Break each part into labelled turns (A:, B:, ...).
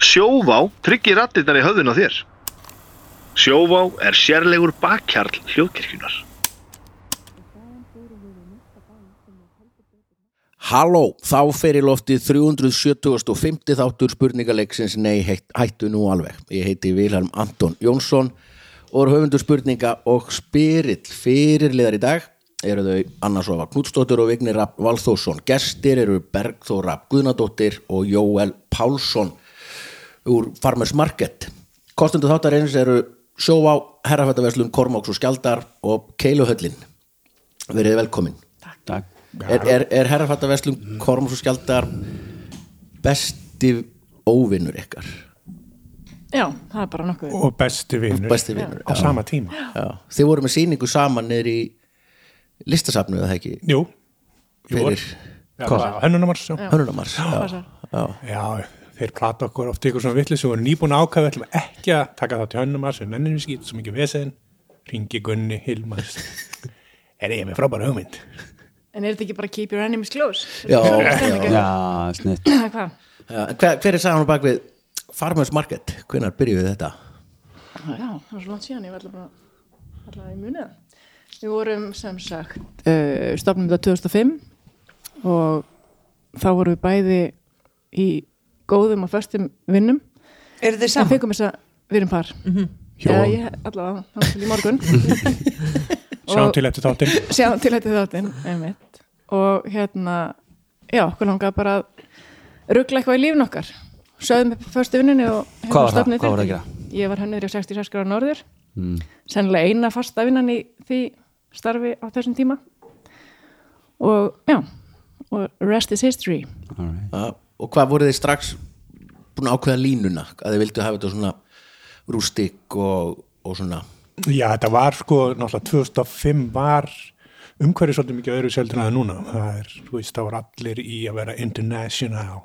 A: Sjóvá tryggir rattirnar í höfðun á þér. Sjóvá er sérlegur bakkjarl hljóðkirkjunar.
B: Halló, þá fer í loftið 375. þáttur spurningaleiksins Nei, heitt, hættu nú alveg. Ég heiti Vilhelm Anton Jónsson og er höfundur spurninga og spyrill fyrirliðar í dag eru þau Anna Sofa Knútsdóttir og Vignir Rapp Valþórsson. Gestir eru Bergþór Rapp Guðnadóttir og Jóel Pálsson úr Farmers Market. Kostendur þáttarins eru Sjóvá, Herrafættaverslun, Kormáks og Skjaldar og Keiluhöllin. Verið velkomin.
C: Takk.
B: Er, er, er herrafattaverslum Kormos og Skjaldar besti óvinnur ykkar?
D: Já, það er bara nokkuð
E: og besti vinnur
B: Besti vinur,
E: á sama tíma
B: Já. Þið voru með sýningu saman niður í listasafnu eða ekki
E: Jú, jú
B: fyrir hvað?
E: hennunumars já.
B: Hönnunamars
D: passar.
E: já, þeir plata okkur oft ykkur svona villis og voru nýbúin að ákveða, við ætlum ekki að taka það til hennunumars en ennum skýt, svo mikið vesen ringi Gunni, Hilmars er ég er með frábæra hugmynd
D: En er þetta ekki bara keep your enemies close?
B: Já,
D: já,
C: Já, snitt.
D: Hvað?
B: Hver, hver er sagan á bakvið Farmers Market? Hvenær byrjuðu við þetta?
D: Já, það var svo langt síðan, ég var alltaf bara alltaf í munið það. Við vorum sem sagt uh, stopnum þetta 2005 og þá vorum við bæði í góðum og föstum vinnum
F: Eru þið
D: en
F: saman?
D: fengum þess að við erum par mm -hmm. Já, ég, allavega, þá til í morgun
E: sjáum til eftir þáttir
D: sjá til þetta þáttinn einmitt. og hérna já, okkur langaði bara að ruggla eitthvað í lífin okkar sögðum upp fyrstu vinnunni og hérna
C: Hvað var það?
D: stofnuðum
C: Hvað var það að Mm.
D: fyrirtæki. ég var hönnur í 66 gráður norður sennilega eina fasta vinnan í því starfi á þessum tíma og já og rest is history
E: Mm.
C: Alright.
B: Ja, Og hvað voru þið strax búin að ákveða línuna? Að þið vildu hafa þetta svona rústik og, og svona
E: já, þetta var sko, náttúrulega 2005 var umhverju svolítið mikið öðru seldur en það er núna það er, þú veist, það var allir í að vera international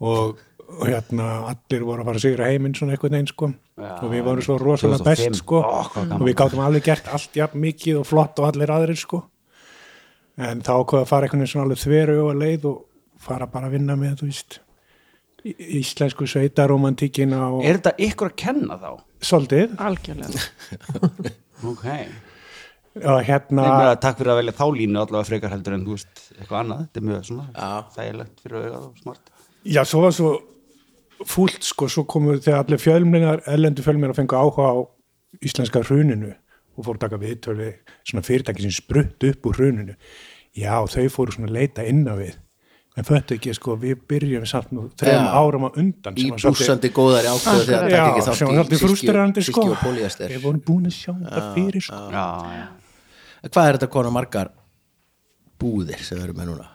E: og, og hérna, allir voru að fara að sigra heiminn svona eitthvað neins sko og við vorum svo rosalega
C: 2005.
E: best sko
C: Ó, hvað gaman.
E: og við gáttum alveg gert allt jafn mikið og flott og allir aðrir sko en þá ákveða að fara einhvern veginn svona alveg þveru og leið og fara bara að vinna með, þú veist í- íslensku sveitaromantíkina og
C: Er þetta ykkur að kenna þá?
E: svolítið
D: algjörlega
C: Ok.
E: og hérna
C: Ég meina, takk fyrir að velja þá línu allavega frekar heldur en þú veist eitthvað annað. Þetta er mjög svona þægilegt fyrir augað og smart.
E: Já, svo var svo fúlt sko, svo komu þegar allir fjölmlinar, ellendu fjölmlinar fengu áhuga á íslenska hruninu og fór að taka viðtölu við svona fyrirtæki sem sprutt upp úr hruninu. Já, þau fóru svona að leita inn á við. En föttu ekki, sko, við byrjum samt nú þrejum
B: Já.
E: árum á undan.
B: í
E: sem var svolítið-
B: búsandi góðari ákveða þegar það
E: Já,
B: ekki þátt
E: sem var
B: í
E: svolítið frústrerandi,
B: silki
E: sko.
B: og polyester.
E: Við vorum búin að sjá þetta fyrir, sko.
C: Já, já.
B: Hvað er þetta konar margar búðir sem við erum með núna?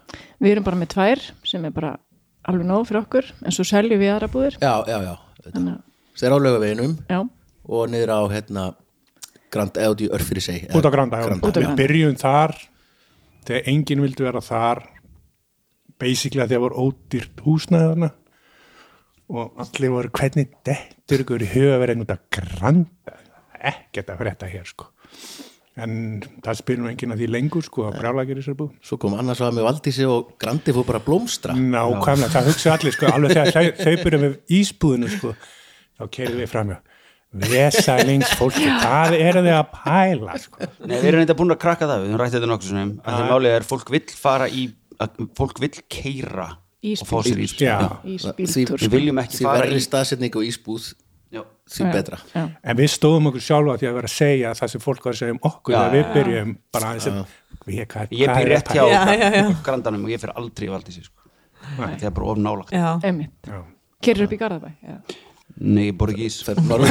D: við erum bara með tvær sem er bara alveg nóg fyrir okkur en svo seljum við aðra búðir
B: Já, já, já. Þetta.
D: Þannig að-
B: Þeir á laugaveginum
D: já,
B: og niður á hérna Grand Audi Örfyrir seg.
E: út á Granda, já.
D: Út á
E: við
D: Granda.
E: byrjum þar þegar enginn vildi vera þar basically að því að voru ódýrt húsnæði þarna og allir voru hvernig dettur ykkur í huga að vera einhvern veginn Granda ekkert að frétta hér sko en það spyrum enginn að því lengur sko að brjála gerir sér bú
B: Svo kom annars að með Valdísi og Grandi fór bara að blómstra.
E: Mm. nákvæmlega, það hugsa allir sko alveg þegar þau, þau byrjum við ísbúðinu sko þá keirum við framjá vesalings fólki, hvað eru þið að pæla sko
C: Nei, við erum eitthvað búin að krakka það, við höfum rætt þetta nokkuð sem að því málið er fólk vill fara í, að fólk vill keira og fá sér ísbúð.
E: já
D: í
B: Því-
D: spíltúr
C: Við viljum ekki
B: Því
C: fara í-
B: verri staðsetning og ísbúð
C: Já.
B: því betra.
D: já.
E: En við stóðum okkur sjálfa því að vera að segja það sem fólk var að segja um okkur
C: Já,
E: þegar
C: já,
E: við byrjum bara aðeins að við hvað
C: Ég
E: hvað
C: byrja
E: er
C: rétt
E: að
C: hjá
E: tala
F: Já, já, já.
C: grandanum og ég fyrir aldrei í valdísi sko. Það er bara of nálagt.
F: Já,
D: einmitt,
E: Já.
D: kerir upp í Garðabæ já.
C: Nei, ég bor ekki í ís.
B: Fer norður-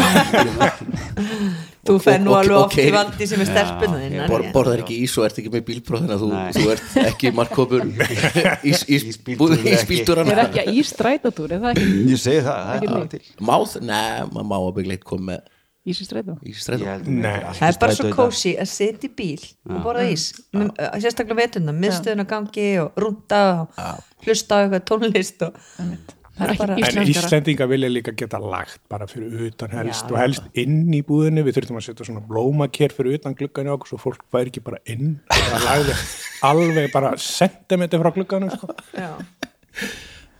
F: þú fer nú
B: og-
F: alveg
B: og
F: oft
B: keyrir.
F: í valdi sem er stelpuna þín
B: Bor, borðar ekki ís og ert ekki með bílbróð þannig að þú,
C: Nei.
B: þú ert ekki markkópur ís, ís,
C: Ísbíltúr er ekki.
B: ísbíltúrana
D: er ekki að í strætatúr er það ekki
C: Ég segi það, það er
D: Ekki mig.
C: alveg til.
B: máð, neða, maður má að byggleitt koma með
D: Ís í strætó
C: Ég
B: ísstræðum
C: held að
E: Nei.
C: allt í
F: Það er
C: strætó
F: bara svo
C: í dag.
F: kósi að setja í bíl og borða ís, Minn- uh, sérstaklega veturna miðstöðun á gangi og rúnda og hlusta á eitthvað tónlist og
D: það er
F: Bara-
D: ekki
E: En
D: íslenskara
E: Íslendinga vilja líka geta lagt bara fyrir utan helst
F: Já.
E: og helst inn í búðinu við þurfum að setja svona blómakér fyrir utan gluggan í okkur svo fólk væri ekki bara inn bara lagði alveg bara sentimeter frá glugganum sko.
F: já,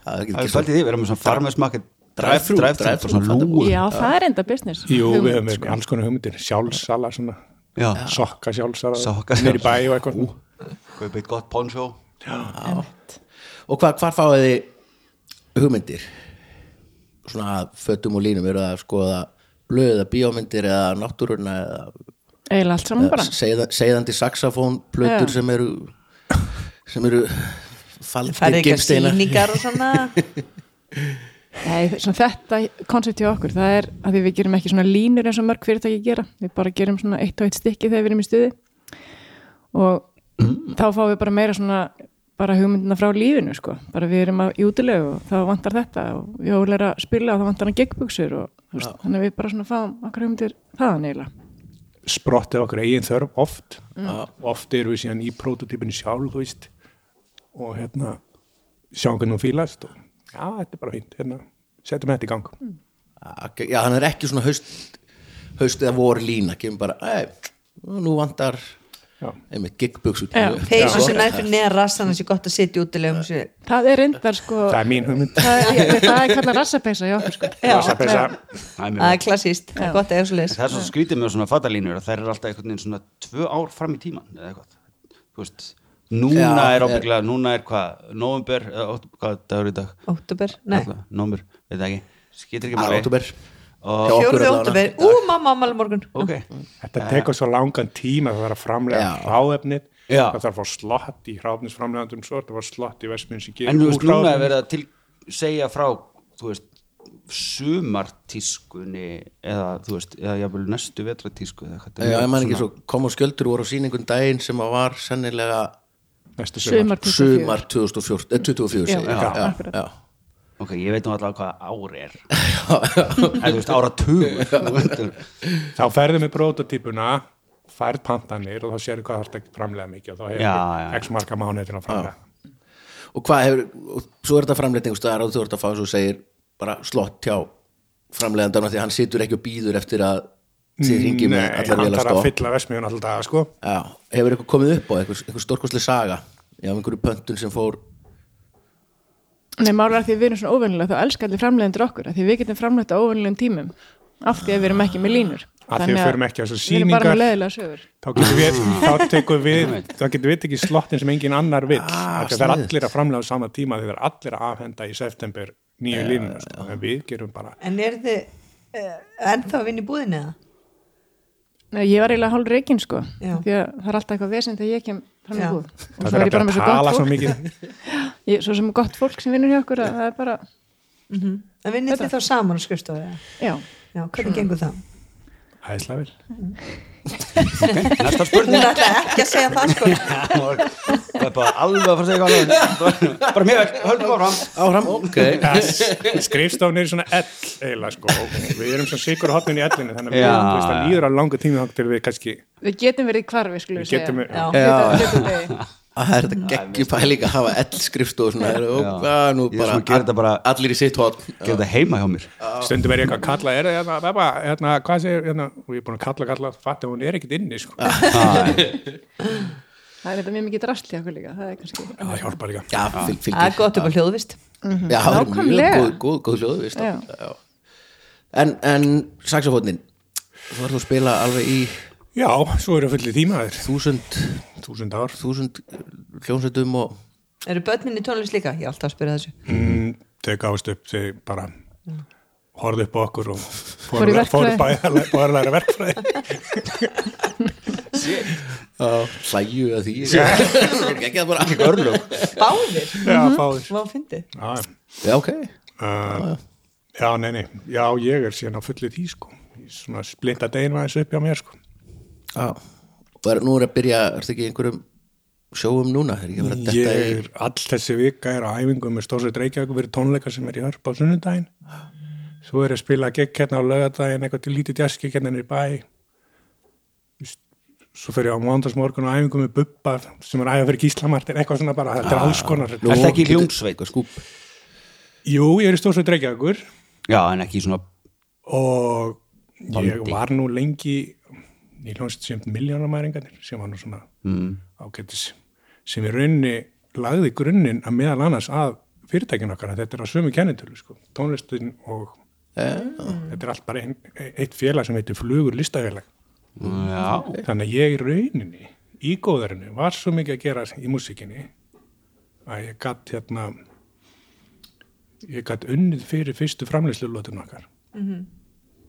B: það er ekki
C: Það er svolítið því, við erum með svona farmersmakket
B: Drive-thru,
C: drive-thru,
B: drive-thru,
C: svona
B: fattar
C: lúur
D: Já, það er enda business Um,
E: Jú, við
D: Hugmynd,
E: höfum sko. alls konar hugmyndir, sjálfsala svona,
C: Já,
E: sokka sjálfsala
C: Sokka
E: niður
C: sjálfsala.
E: í bæ og eitthvað
C: kaupið eitt gott poncho
B: Og hvað, hvar fáið þið hugmyndir? Svona að föttum og línum eru að skoða blöða bíómyndir eða náttúruna eða
D: eiginlega allt saman Mm, bara
B: segða, segðandi saxafón plötur
D: Já.
B: sem eru sem eru faldir
F: farið eitthvað
B: gimsteina
F: síningar og svona
D: Nei, svona þetta koncept hjá okkur það er að því við gerum ekki svona línur eins og mörg fyrirtæki gera, við bara gerum svona eitt og eitt stykki þegar við erum í stuði og þá fáum við bara meira svona bara hugmyndina frá lífinu sko, bara við erum að jútilegu og þá vantar þetta og Jól er að spila og þá vantar hann geggbuxur og þú veist, þannig að við bara svona fáum okkar hugmyndir þaðan eiginlega.
E: sprottið okkur eigin þörf oft
C: Mm.
E: oft erum við síðan í prototípinu sjálf þú veist og hérna sjáum hvernig hún fílast og já, þetta er bara fínt, hérna setjum þetta í gang
C: Mm.
B: Já, hann er ekki svona haust haust eða vor lína, kemur bara "Æ, nú vantar
E: Já.
B: einmitt giggbuxur
D: Já.
F: peysu sem er fyrir neðan rassan þessi gott að sitja útilegum sér
D: Það er reyndar sko
E: það er mín hugmynd
D: það er, ég, það er kallar rassapeysa hjá okkur sko
E: Passa, passa.
C: Það er mjög
F: það er klassíst, það er gott að eiga svo
C: En það er svo skrítið með svona fatalínur að þær eru alltaf einhvern veginn svona tvö ár fram í tíman eða eitthvað, þú veist núna
B: Já,
C: er
B: er-
C: ábygglega, núna er hvað november, eða ótt- hvað dagur er í dag
F: óttúber, nei,
C: november, veit það ekki, skýtir ekki
B: Það er
C: máli.
B: óttúber
C: Og-
B: Hjá okkur
F: fjórði
B: allavega.
F: óttúber ú, mamma, mamma, morgun
C: ok,
E: þetta tekur svo langan tíma það þarf að framlega
B: Já.
E: hráefnið
C: Já.
E: það þarf að fá slott í hráefnisframlegandum svo það var slott í versmiðin sem gerir
C: en þú veist
E: úr
C: núna er
E: hráefninu.
C: verið að til segja frá, þú veist sumartískunni eða þú veist, eða jáfnvel næstu vetratísku eða eitthvað.
B: Já, ég man ekki svo, kom og skjöldur voru á sýningun daginn sem að var sennilega
E: næsta sumar
D: Sumar
B: sumar
D: 24.
B: 2014, eh, 2024 segi ég.
D: Já,
B: já,
D: akkurat.
B: já,
C: ok, ég veit nú alltaf hvað ár er en þú veist áratug
E: þá ferðum við prototípuna færð pantanir og þá sérðu hvað þarf að framlega mikið og þá hefur
C: Já,
E: við
C: já.
E: x marga mánuði til að framlega
B: Og hvað hefur, og svo er þetta framleitingstæðar og þú ert að fá, svo segir, bara slott hjá framleiðandarna því að hann situr ekki og býður eftir að þið ringi með sko.
E: Nei,
B: allar
E: hann
B: vel að
E: þarf að
B: stó
E: fylla vesmiðun alltaf daga, sko.
B: Já, hefur eitthvað komið upp á eitthvað, eitthvað stórkostlega saga Já, um einhverju pöntun sem fór
D: Nei, mála að því að við erum svona óvennilega þá elskar allir framleiðendur okkur, að því við getum framleitt á óvennilegum tímum, af því að við erum ekki með línur.
E: Af því við förum ekki á þessar
D: Við erum bara
E: sýningar.
D: með leðilega sögur.
E: Þá getum við, þá tekum við, þá getum við ekki slottin sem engin annar vill. Ah, það er
B: sniðugt.
E: allir að framlega á sama tíma því það er allir að afhenda í september nýju línuna, sko. En við gerum bara,
F: en er þið uh, ennþá að vinna í búðinu eða?
D: Nei, ég var eiginlega hálf reikinn sko,
F: Já.
D: því að það er alltaf eitthvað vesend að ég kem fram í
F: Já.
D: húð. Og
E: það
D: svo er ég
E: er allir
D: bara
E: að
D: með svo
E: tala
D: gott
E: svo
D: fólk,
E: mikið.
D: ég, svo sem gott fólk sem vinnur hjá okkur, að það er bara,
F: en vinnið þið þá saman á skrifstofu eða?
D: já.
F: já, hvernig gengur það?
E: Æðislega vel.
C: næsta spurning
F: hún ætlaði ekki að segja það sko
C: það er bara alveg að fara að segja eitthvað annað. bara mjög vel, höldum áfram
B: áfram, ok
E: Skrifstofn er í svona ell eiginlega, sko. og Við erum svona sikur hotnin í ellinu, þannig að við,
C: Já,
E: þú veist, það
C: já.
E: líður að langa tíma þá til við kannski,
D: Við getum verið hvar við skulum
E: við getum,
D: segja.
E: já,
D: Getum- getum verið.
B: að það er Ah, þetta geggjum pæling að hafa ell skrifst og svona og hvað nú
C: Ég er
B: bara,
C: svona að gera þetta bara-
B: allir í sitt hot
C: gerðu þetta heima hjá mér
E: stundum er ég eitthvað að kalla, er það, hérna, beba, hérna, hvað segir, hérna, og ég er búin að kalla, kalla, fatta, hún er ekkit inni, sko.
D: Það er þetta mjög mikið drast hjá okkur líka, það er kannski.
E: Það hjálpar líka.
B: já, fylg, fylgir
F: það er gott upp á hljóðvist
B: já, það er mjög
D: Mm. Nákvæmlega.
B: góð, góð, góð hljóðu veist
D: Já.
B: já. en, en saxofónin þú varst að spila alveg í
E: Já, svo eru fullið tímaður.
B: þúsund,
E: Þúsund ár.
B: þúsund hljómsveitum og
F: eru börnin í tónlist líka? ég er alltaf að spyrja þessu
E: Mm, þau gáðust upp, þau bara horfðu upp á okkur og
D: Fóru í
E: fóru, fóru
D: verkfræði.
E: bæjarlega bæjarlega verkfræði.
B: hlæju að því ekki að bara allir örlög
F: báðir,
E: Já, fáður.
F: hvað fyndi
E: Já,
B: já, ok
E: uh, já, nei, nei. Já, ég er síðan á fullið því, sko. Ég Svona splinta deginu aðeins upp hjá mér, sko.
B: já. og er, nú er að byrja, ertu ekki í einhverjum sjóum núna, er ekki að vera að
E: Ég
B: detta í
E: er, all þessi vika er á æfingu með stórsveit Reykjavík fyrir tónleika sem er í hörp á sunnudaginn. Svo er ég að spila gegn hérna á laugardaginn, eitthvað til lítið jaski hérna niður í bæ. Svo fer ég á mándagsmorgun á æfingu með Bubba sem er að æfa fyrir Gíslamartin, eitthvað svona bara, þetta er alls konar.
B: Ah, Nú,
C: Ertu ekki í
B: getur-
C: hljómsveit?
B: skúp
E: Jú, ég er í stórsveit Reykjavíkur
C: já, en ekki í svona
E: og ég var nú lengi í hljónst sem miljónamæringarnir sem var nú svona ágættis sem í rauninni lagði grunninn að meðal annars að fyrirtækin okkar að þetta er á sömu kennitölu sko. tónlistin og þetta er allt bara ein, e- eitt félag sem heitir flugur listafélag
C: já,
E: þannig að ég í rauninni í góðarinu var svo mikið að gera í músikinni að ég gatt hérna ég gatt unnið fyrir fyrstu framlýslu lótum okkar
F: Mhm.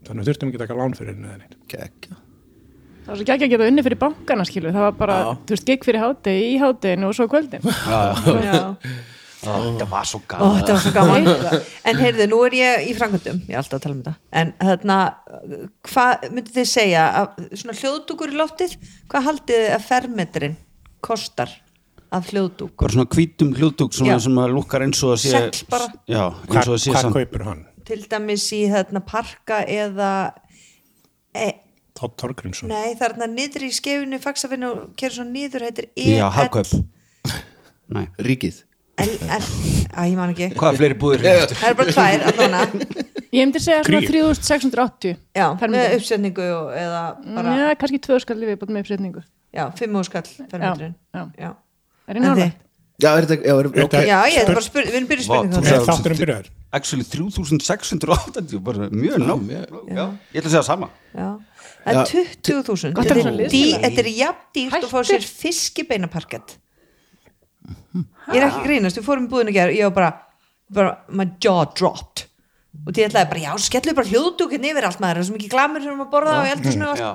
E: þannig að þurftum ekki að taka lán fyrir henni eða neitt
B: Kekja.
D: Það var svo ekki að geta unni fyrir bankana skilu Það var bara, þú veist, gikk fyrir hátegi í háteginu og svo á kvöldin
F: Já.
C: þetta var svo
F: Ó,
C: gaman
F: þetta var svo gaman En heyrðu, nú er ég í frangöndum Ég er alltaf að tala um þetta En hérna, hvað myndið þið segja að, Svona hljóðdúkur í loftið Hvað haldið þið að fermetrin kostar Af hljóðdúk
C: bara svona hvítum hljóðdúk svona
F: Já.
C: sem að lukkar eins og að sé
F: Segl bara.
C: já,
E: Hva,
C: eins og að sé
E: hvað
C: samt
E: kaupir hann?
F: Til dæmis í þarna parka Eða e,
E: Todd Torgrimsson
F: Nei, þarna niður í skefinu Faxafinu og kerur svona niður Heitir E
C: já, hagkaup nei,
B: Ríkið
F: L, L, Æ, ég man ekki
C: hvað er fleiri búðir já,
F: Það er bara tvær allavega
D: Ég myndi segja svona
E: Kríur.
D: 3680
F: Já, með
D: fermetrin.
F: uppsetningu og, eða bara,
D: Já, Mm, kannski tvö skall við búin með uppsetningu
F: já, fimm óskall fermetrin
D: Já, já.
F: já.
D: Er ég nálega?
B: Já, er þetta, já, er,
E: Þetta
B: ok
E: er-
F: Já, ég er bara að spyrja, við erum byrjuð
C: Vá,
F: spurningu
C: þú
E: er
C: sagði-
E: þátturinn byrjaður
C: actually 3680 bara mjög nóg já. ég ætla að segja sama
F: Já, það er 20.000
D: Gott að
F: Þetta
D: vera
F: er
D: svona
F: dý-
D: liðsfélag.
F: Þetta er jafn dýrt og fá sér fiskibeinaparkett Ég er ekki að grínast, við fórum í búðinu að gera ég var bara, bara, my jaw dropped og því ætlaði bara, já, skellu bara hljóðdúkinn yfir allt maður, það er svo mikið glamur sem við erum að borða og ég heldur svona
C: já,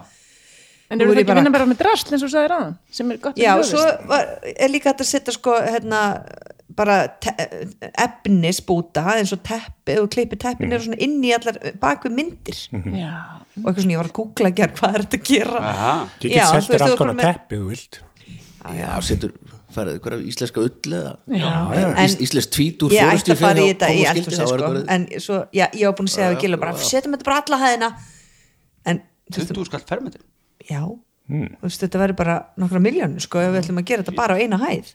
D: En
F: Nú
D: eru
F: er
D: það
F: ég
D: ekki
F: bara-
D: að vinna bara með drasl eins og þú sagði ráðan sem er gott
F: Já,
D: fyrir
F: svo
D: höfuðið?
F: var, er líka hægt að setja sko, hérna, bara te- efnisbúta eins og teppi og klippi teppin eru svona inn í allar bak við myndir
C: Mhm.
D: Já,
F: og eitthvað svona, ég var að googla að gera hvað er þetta að gera
C: aha
E: Ég
F: Já,
E: get
F: þú
E: selt
F: veist,
E: þér
F: þú
E: alls
F: ert
E: konar
F: bara með-
E: teppi, ef þú vilt
B: Já, setur, færið ykkur af íslenska ull eða
D: já,
F: En-
B: Ís, Íslensk tvítúr
F: ég ætti að
B: forystufé
F: fara í
B: hjá
F: þetta í
B: Tómas Gildi,
F: eldhúsi
B: þá er
F: sko.
B: bara-
F: en svo, já, ég var búin að segja að Gilur bara,
B: já.
F: setjum þetta bara alla hæðina en, þú veist,
C: 20 skall fermetrin
F: já þú veist, þetta verður bara nokkra miljónu sko, ef við ætlum að gera þetta bara á eina hæð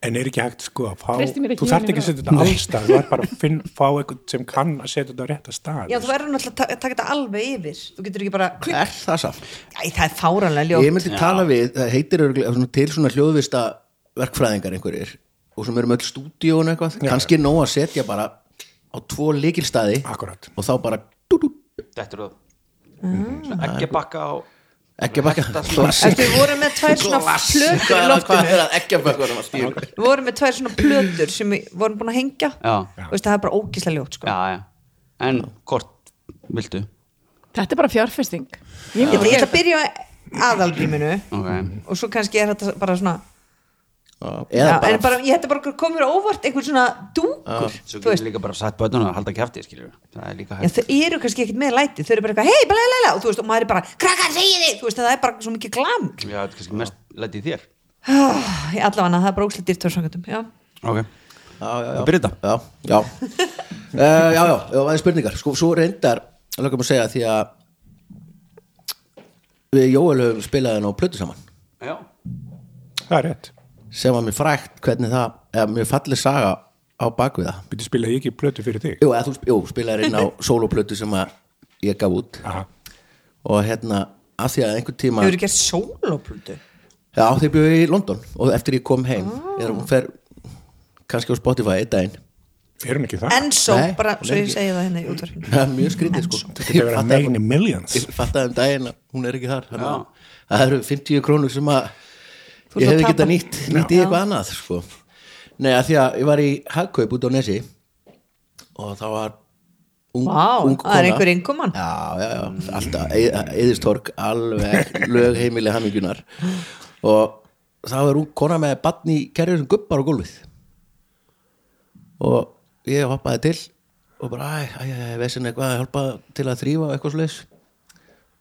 E: En er ekki hægt sko að fá,
D: Treysti mér ekki
E: þú þarft
D: í
E: ekki að setja
D: henni
E: þetta allstað, þú þarf bara að finn, fá eitthvað sem kann að setja þetta á rétta stað.
F: já, þú verður náttúrulega að ta- taka þetta alveg yfir þú getur ekki bara, klipp,
B: Er það samt?
F: æ, það er fáranlega ljótt
B: Ég myndi tala við, það heitir örgulega svona, til svona hljóðvista verkfræðingar einhverjir og sem eru með öll stúdíón eitthvað kannski er nóg að setja bara á tvo leikilstaði
E: Akkúrat.
B: og þá bara dú, dú,
C: þetta eru það ekki bakka á
B: ekki að bakka klassik
F: Eftir, við vorum með tvær svona plötur í loftinu
B: Hvað er að ekki að bakka
F: við vorum með tvær svona plötur sem við vorum búin að hengja
C: já,
F: Þú veist, það er bara ógíslega ljótt sko.
C: já, já en hvort viltu
D: þetta er bara fjárfesting Ég
F: ég
D: myndi
F: ætla- ég
D: gera
F: ætla að byrja á aðalrýminu
C: ok
F: og svo kannski er þetta bara svona
B: Eða
F: já,
B: bara
F: en bara, ég hætti bara komur óvart einhvern svona dúkur
C: Svo
F: þú
C: getur
F: veist,
C: líka bara sagt bötunum að halda kæfti, skiljur Það er líka
F: já,
C: hægt
F: þau eru kannski ekkert með læti þau eru bara eitthvað, hei, bla, bla, bla, og þú veist, og maður er bara krakkar, segi þið, þú veist, það er bara svo mikið glam
C: Já, þetta er kannski mest lætið þér
F: allavega, það er bara ógslið dýrt fórsangöndum, já
C: Ok,
B: Já, já, já.
C: Það byrja þetta.
B: já, já. Uh, já, já, já, það er spurningar sko, svo reyndar, lögum að segja því að við Jóel höfum spilað henn á plötu saman
C: já
E: Það er rétt.
B: sem var mér frækt hvernig það, eða mér falleg saga á bakvið það
E: Býttu spila ég ekki plötu fyrir þig.
B: Jú, eða þú sp- jú, spilaðir inn á soloplötu sem að ég gaf út
E: Aha.
B: og hérna, af því að einhvern tíma
F: þau eru gert sólóplötu
B: Já, þeir bjöðu í London og eftir ég kom heim er hún fer kannski á Spotify einn daginn
E: Er hún ekki það?
F: en svo,
B: Nei,
F: bara,
B: hún
F: svo
B: er
F: ég
B: ekki.
F: segi það henni í útvarfinu
B: Það er mjög skrítið sko
E: Þetta er verið að
B: fattaði-
E: megin millions.
B: Ég fattaði um daginn að hún er ekki þar þannig að það eru 50 krónur sem að ég
F: ert að
B: hefði
F: tapa.
B: getað nýtt, nýtt í eitthvað annað sko. Nei, að því að ég var í hagkaup út á Nesi og það var ung,
F: Vá,
B: ung
F: það er
B: kona.
F: einhver innkoman.
B: Já, já, já, alltaf eðistork, alveg lögheimili hamingunar og það var ung kona með barn í kerfið sem gubbar á gólfið og ég hoppaði til og bara, æ, æ, æ, vesin eitthvað að hjálpa til að þrýfa eitthvað svo leis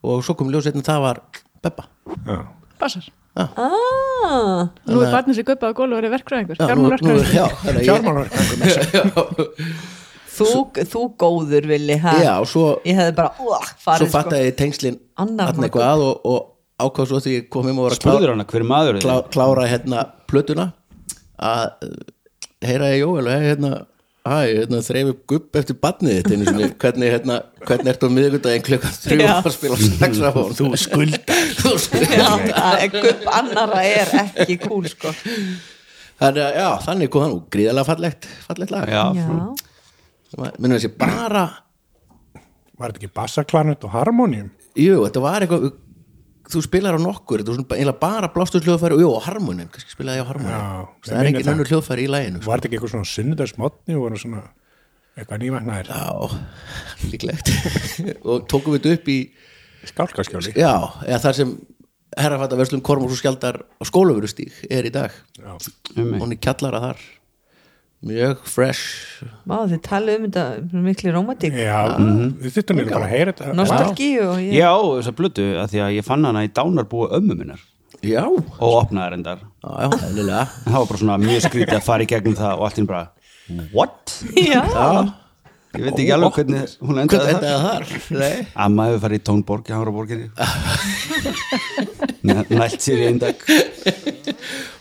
B: og svo kom ljós einnig það var Bebba
E: Já.
D: Basar
F: ah,
D: Nú er barnið sem guppað á gólu og er verkfræðingur
B: Já, nú- nú-
D: Fjármálverkfræðingur
B: já, þannig að ég-
E: Fjármálarverkfræðingur,
F: þú, þú góður villi ha?
B: Já, og svo
F: ég hefði bara, uh,
B: svo
F: farið
B: fattaði ég tengslinn
F: Annar
B: hann
F: maður.
B: eitthvað að og, og ákvað svo því ég kom heim og var að
C: Spurður hana hver er maður
B: klá,
C: þið
B: klára hérna plötuna að uh, heyra ég Jóel hey, hérna, hæ, hérna þreif upp gupp eftir badnið þitt einu sinni hvernig, hérna, hvernig ertu á miðvikudaginn klukkan þrjú
F: Já.
B: að spila saxafón
E: Þú skulda.
B: þú
F: sko." Já,
B: skuldar
F: það er gupp annara er ekki kúl sko
B: þannig að já, þannig kom hann og gríðarlega fallegt fallegt lag
C: Já,
F: já,
B: minnum þessi bara,
E: Var þetta ekki bassaklanet og harmonium?
B: jú, þetta var eitthvað þú spilar á nokkur, þetta var svona eiginlega bara blástuðsljóðfæri og jú, á harmonum, kannski spilaði ég á
E: Já,
B: harmonum
E: ég
B: það er
E: minni
B: engin
E: það.
B: önnur hljóðfæri í læginu
E: Var þetta ekki eitthvað svona sunnudagsmotni og voru svona eitthvað nývagnar?
B: já, líklegt og tókum við þetta upp í
E: Skálkaskjóli?
B: já, eða þar sem herrafattaverslum Kormús og Skjaldar á skólaverustík er í dag
E: Já.
C: um
B: hún er kjallara þar mjög fresh
F: Vá, þið talið um þetta miklu romantík,
E: Já, við þittum niður bara að heyra þetta.
F: nostalgí og ég,
C: Já, þess að blötu að því að ég fann hana í dánarbúi ömmu minnar
B: já,
C: og opnaði reyndar
B: já, já, eðlilega
C: en það var bara svona mjög skrítið að fara í gegnum það og allt hinn bara What?
F: já,
C: Ég veit ekki alveg hvernig hún endaði
B: hvernig
C: það
B: endaði þar, nei
C: Amma hefur farið í tónborg í Háraborginni Nælt sér í einn dag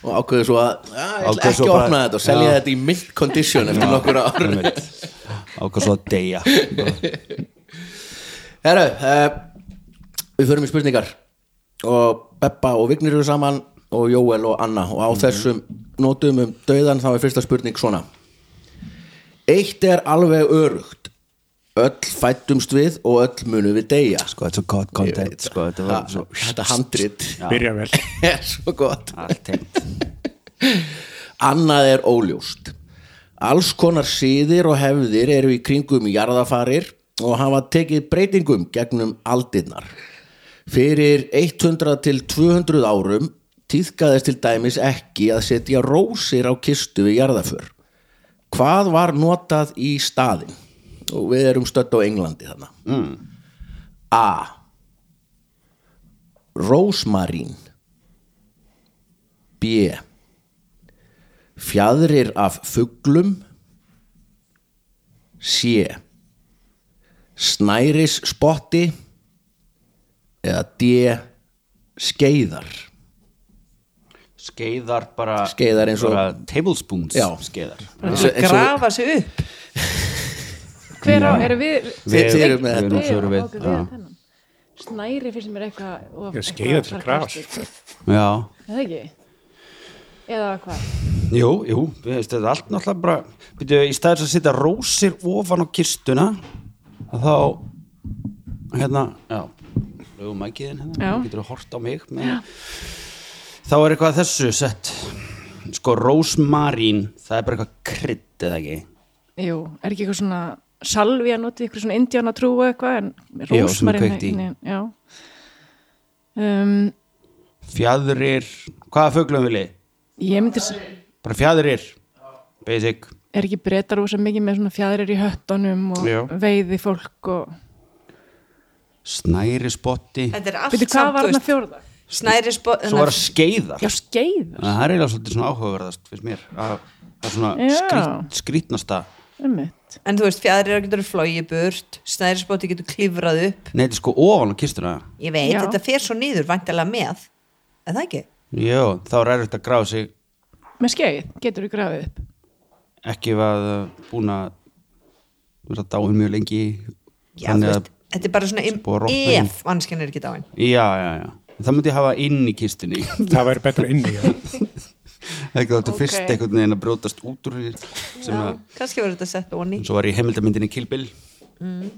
B: og ákveðu svo að "Ah, ég ætla
C: Ákveður
B: ekki
C: svo
B: að
C: bara-
B: opna þetta og selja
C: Já.
B: þetta í mild condition eftir nokkur ára
C: Ákvað svo að deyja
B: Herru, uh, við förum í spurningar og Beppa og Vignir eru saman og Jóel og Anna og á
C: Mhm.
B: þessum nótum um döðan þá er fyrsta spurning svona Eitt er alveg örugt öll fættumst við og öll munum við deyja
C: Sko, þetta er svo gott content Sko, þetta var svo
B: Þetta handrit
E: Byrja vel.
B: er svo gott
C: Allt tengt
B: Annað er óljóst. Alls konar síðir og hefðir eru í kringum jarðafarir og hafa tekið breytingum gegnum aldirnar. Fyrir 100 til 200 árum týðkaðist til dæmis ekki að setja rósir á kistu við jarðaför. Hvað var notað í staðin? Og við erum stödd á Englandi þannig. Mm. A. Rósmarín B fjadrir af fuglum C snæris spotti eða D skeiðar
C: Skeiðar bara
B: Skeiðar eins og-
C: bara Tablespoons
B: Já.
C: Skeiðar
B: Eins og- eins og-
F: grafa sig upp,
D: hver á, eru við
B: Þið- þið eruð með
C: við-
B: þetta.
C: nú svo erum við,
D: Já, ok,
C: já.
D: erum þennan. snæri finnst mér eitthvað of-
E: Já, skeiða til
D: eitthvað
E: grafs.
D: sarkastik.
C: Já
D: Er það ekki eða hvað
C: Jú, jú, við veist, þetta er allt náttúrulega bara byrju, í staðis að setja rósir ofan á kistuna að þá hérna, já lögum mækiðin hérna,
D: Já.
C: þú getur hort á mig með, þá er eitthvað að þessu sett sko, rósmarín það er bara eitthvað krydd eða ekki
D: jú, er ekki eitthvað svona salvi að nota ykkur svona indjána trú eitthvað en
C: Já, sem er
D: rósmarin
C: kveikt í.
D: nei, já um,
C: fjadrir, hvaða fuglum vilji?
D: ég myndi s-
C: bara fjadrir, basic
D: er ekki breytar úr mikið með svona fjæðrir í höttunum og
C: Já.
D: veiði fólk og
C: snæri spotti,
F: þetta er
D: veitir
F: allt
D: hvað var hann að
F: samt
D: fjórða?
F: snæri
C: svo var skeiðar
D: já, skeið,
C: það er eiginlega svolítið svona áhugaverðast finnst mér, að það er svona
D: Já.
C: skrýt, skrýtnasta
D: ummitt
F: en þú veist, fjadrir getur flogið burt snæri spotti getur klifrað upp
C: Nei, þetta er sko ofan á kistuna
F: ég veit,
D: Já.
F: þetta fer svo nýður vantilega með, er það ekki?
C: Jó, þá er erfitt að gráða sig
D: með skeið getur við grafið upp
C: ekki að uh, búin að vera dáið mjög lengi
F: Já, þú veist, þetta er bara svona im-
C: Spor rotna inn.
F: ef mannskjarn er ekki dáin
C: já, já, já Það myndi ég hafa inn í kistunni
E: Það væri betra inni. já.
C: Ekki þetta
D: Ok.
C: okay. fyrst einhvern veginn að brjótast út úr hér sem að,
F: kannski verður þetta sett onni
C: svo var í heimildamyndinni Kilbil mm.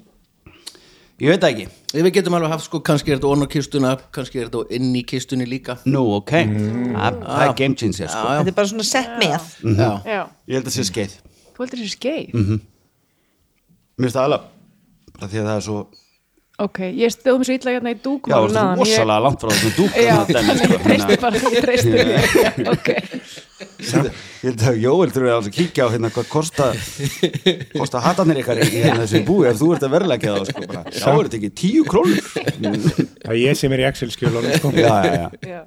C: Ég veit það ekki
B: Ef við getum alveg haft sko, kannski er þetta onn á kistuna kannski er þetta á- inn í kistunni líka
C: Nú, ok,
F: Mm.
C: það það
F: Ah.
C: er game changer sko.
F: þetta er bara svona sett með
C: Mhm.
B: Já,
D: já,
C: Ég held að sé skeið
D: þú heldur þessi skeið
C: Mhm. Mér finnst það alveg bara því að það er svo
D: ok, ég stóð mér svo illa hérna í
C: Já, það
D: dúkmálun
C: er rosalega sko. langt frá þessum dúk
D: Já, þannig ég treysti bara, ég treysti því Ok,
C: Ég held að Jóel þurfið alveg að kíkja á hérna hvað kosta, kosta hatarnir ykkar í hérna þessu búi ef þú ert að verðleggja það sko bara, já, er þetta ekki tíu krónur?
E: Það er ég sem er í Excel-skjölunum. sko.
C: Já, já, já.
D: já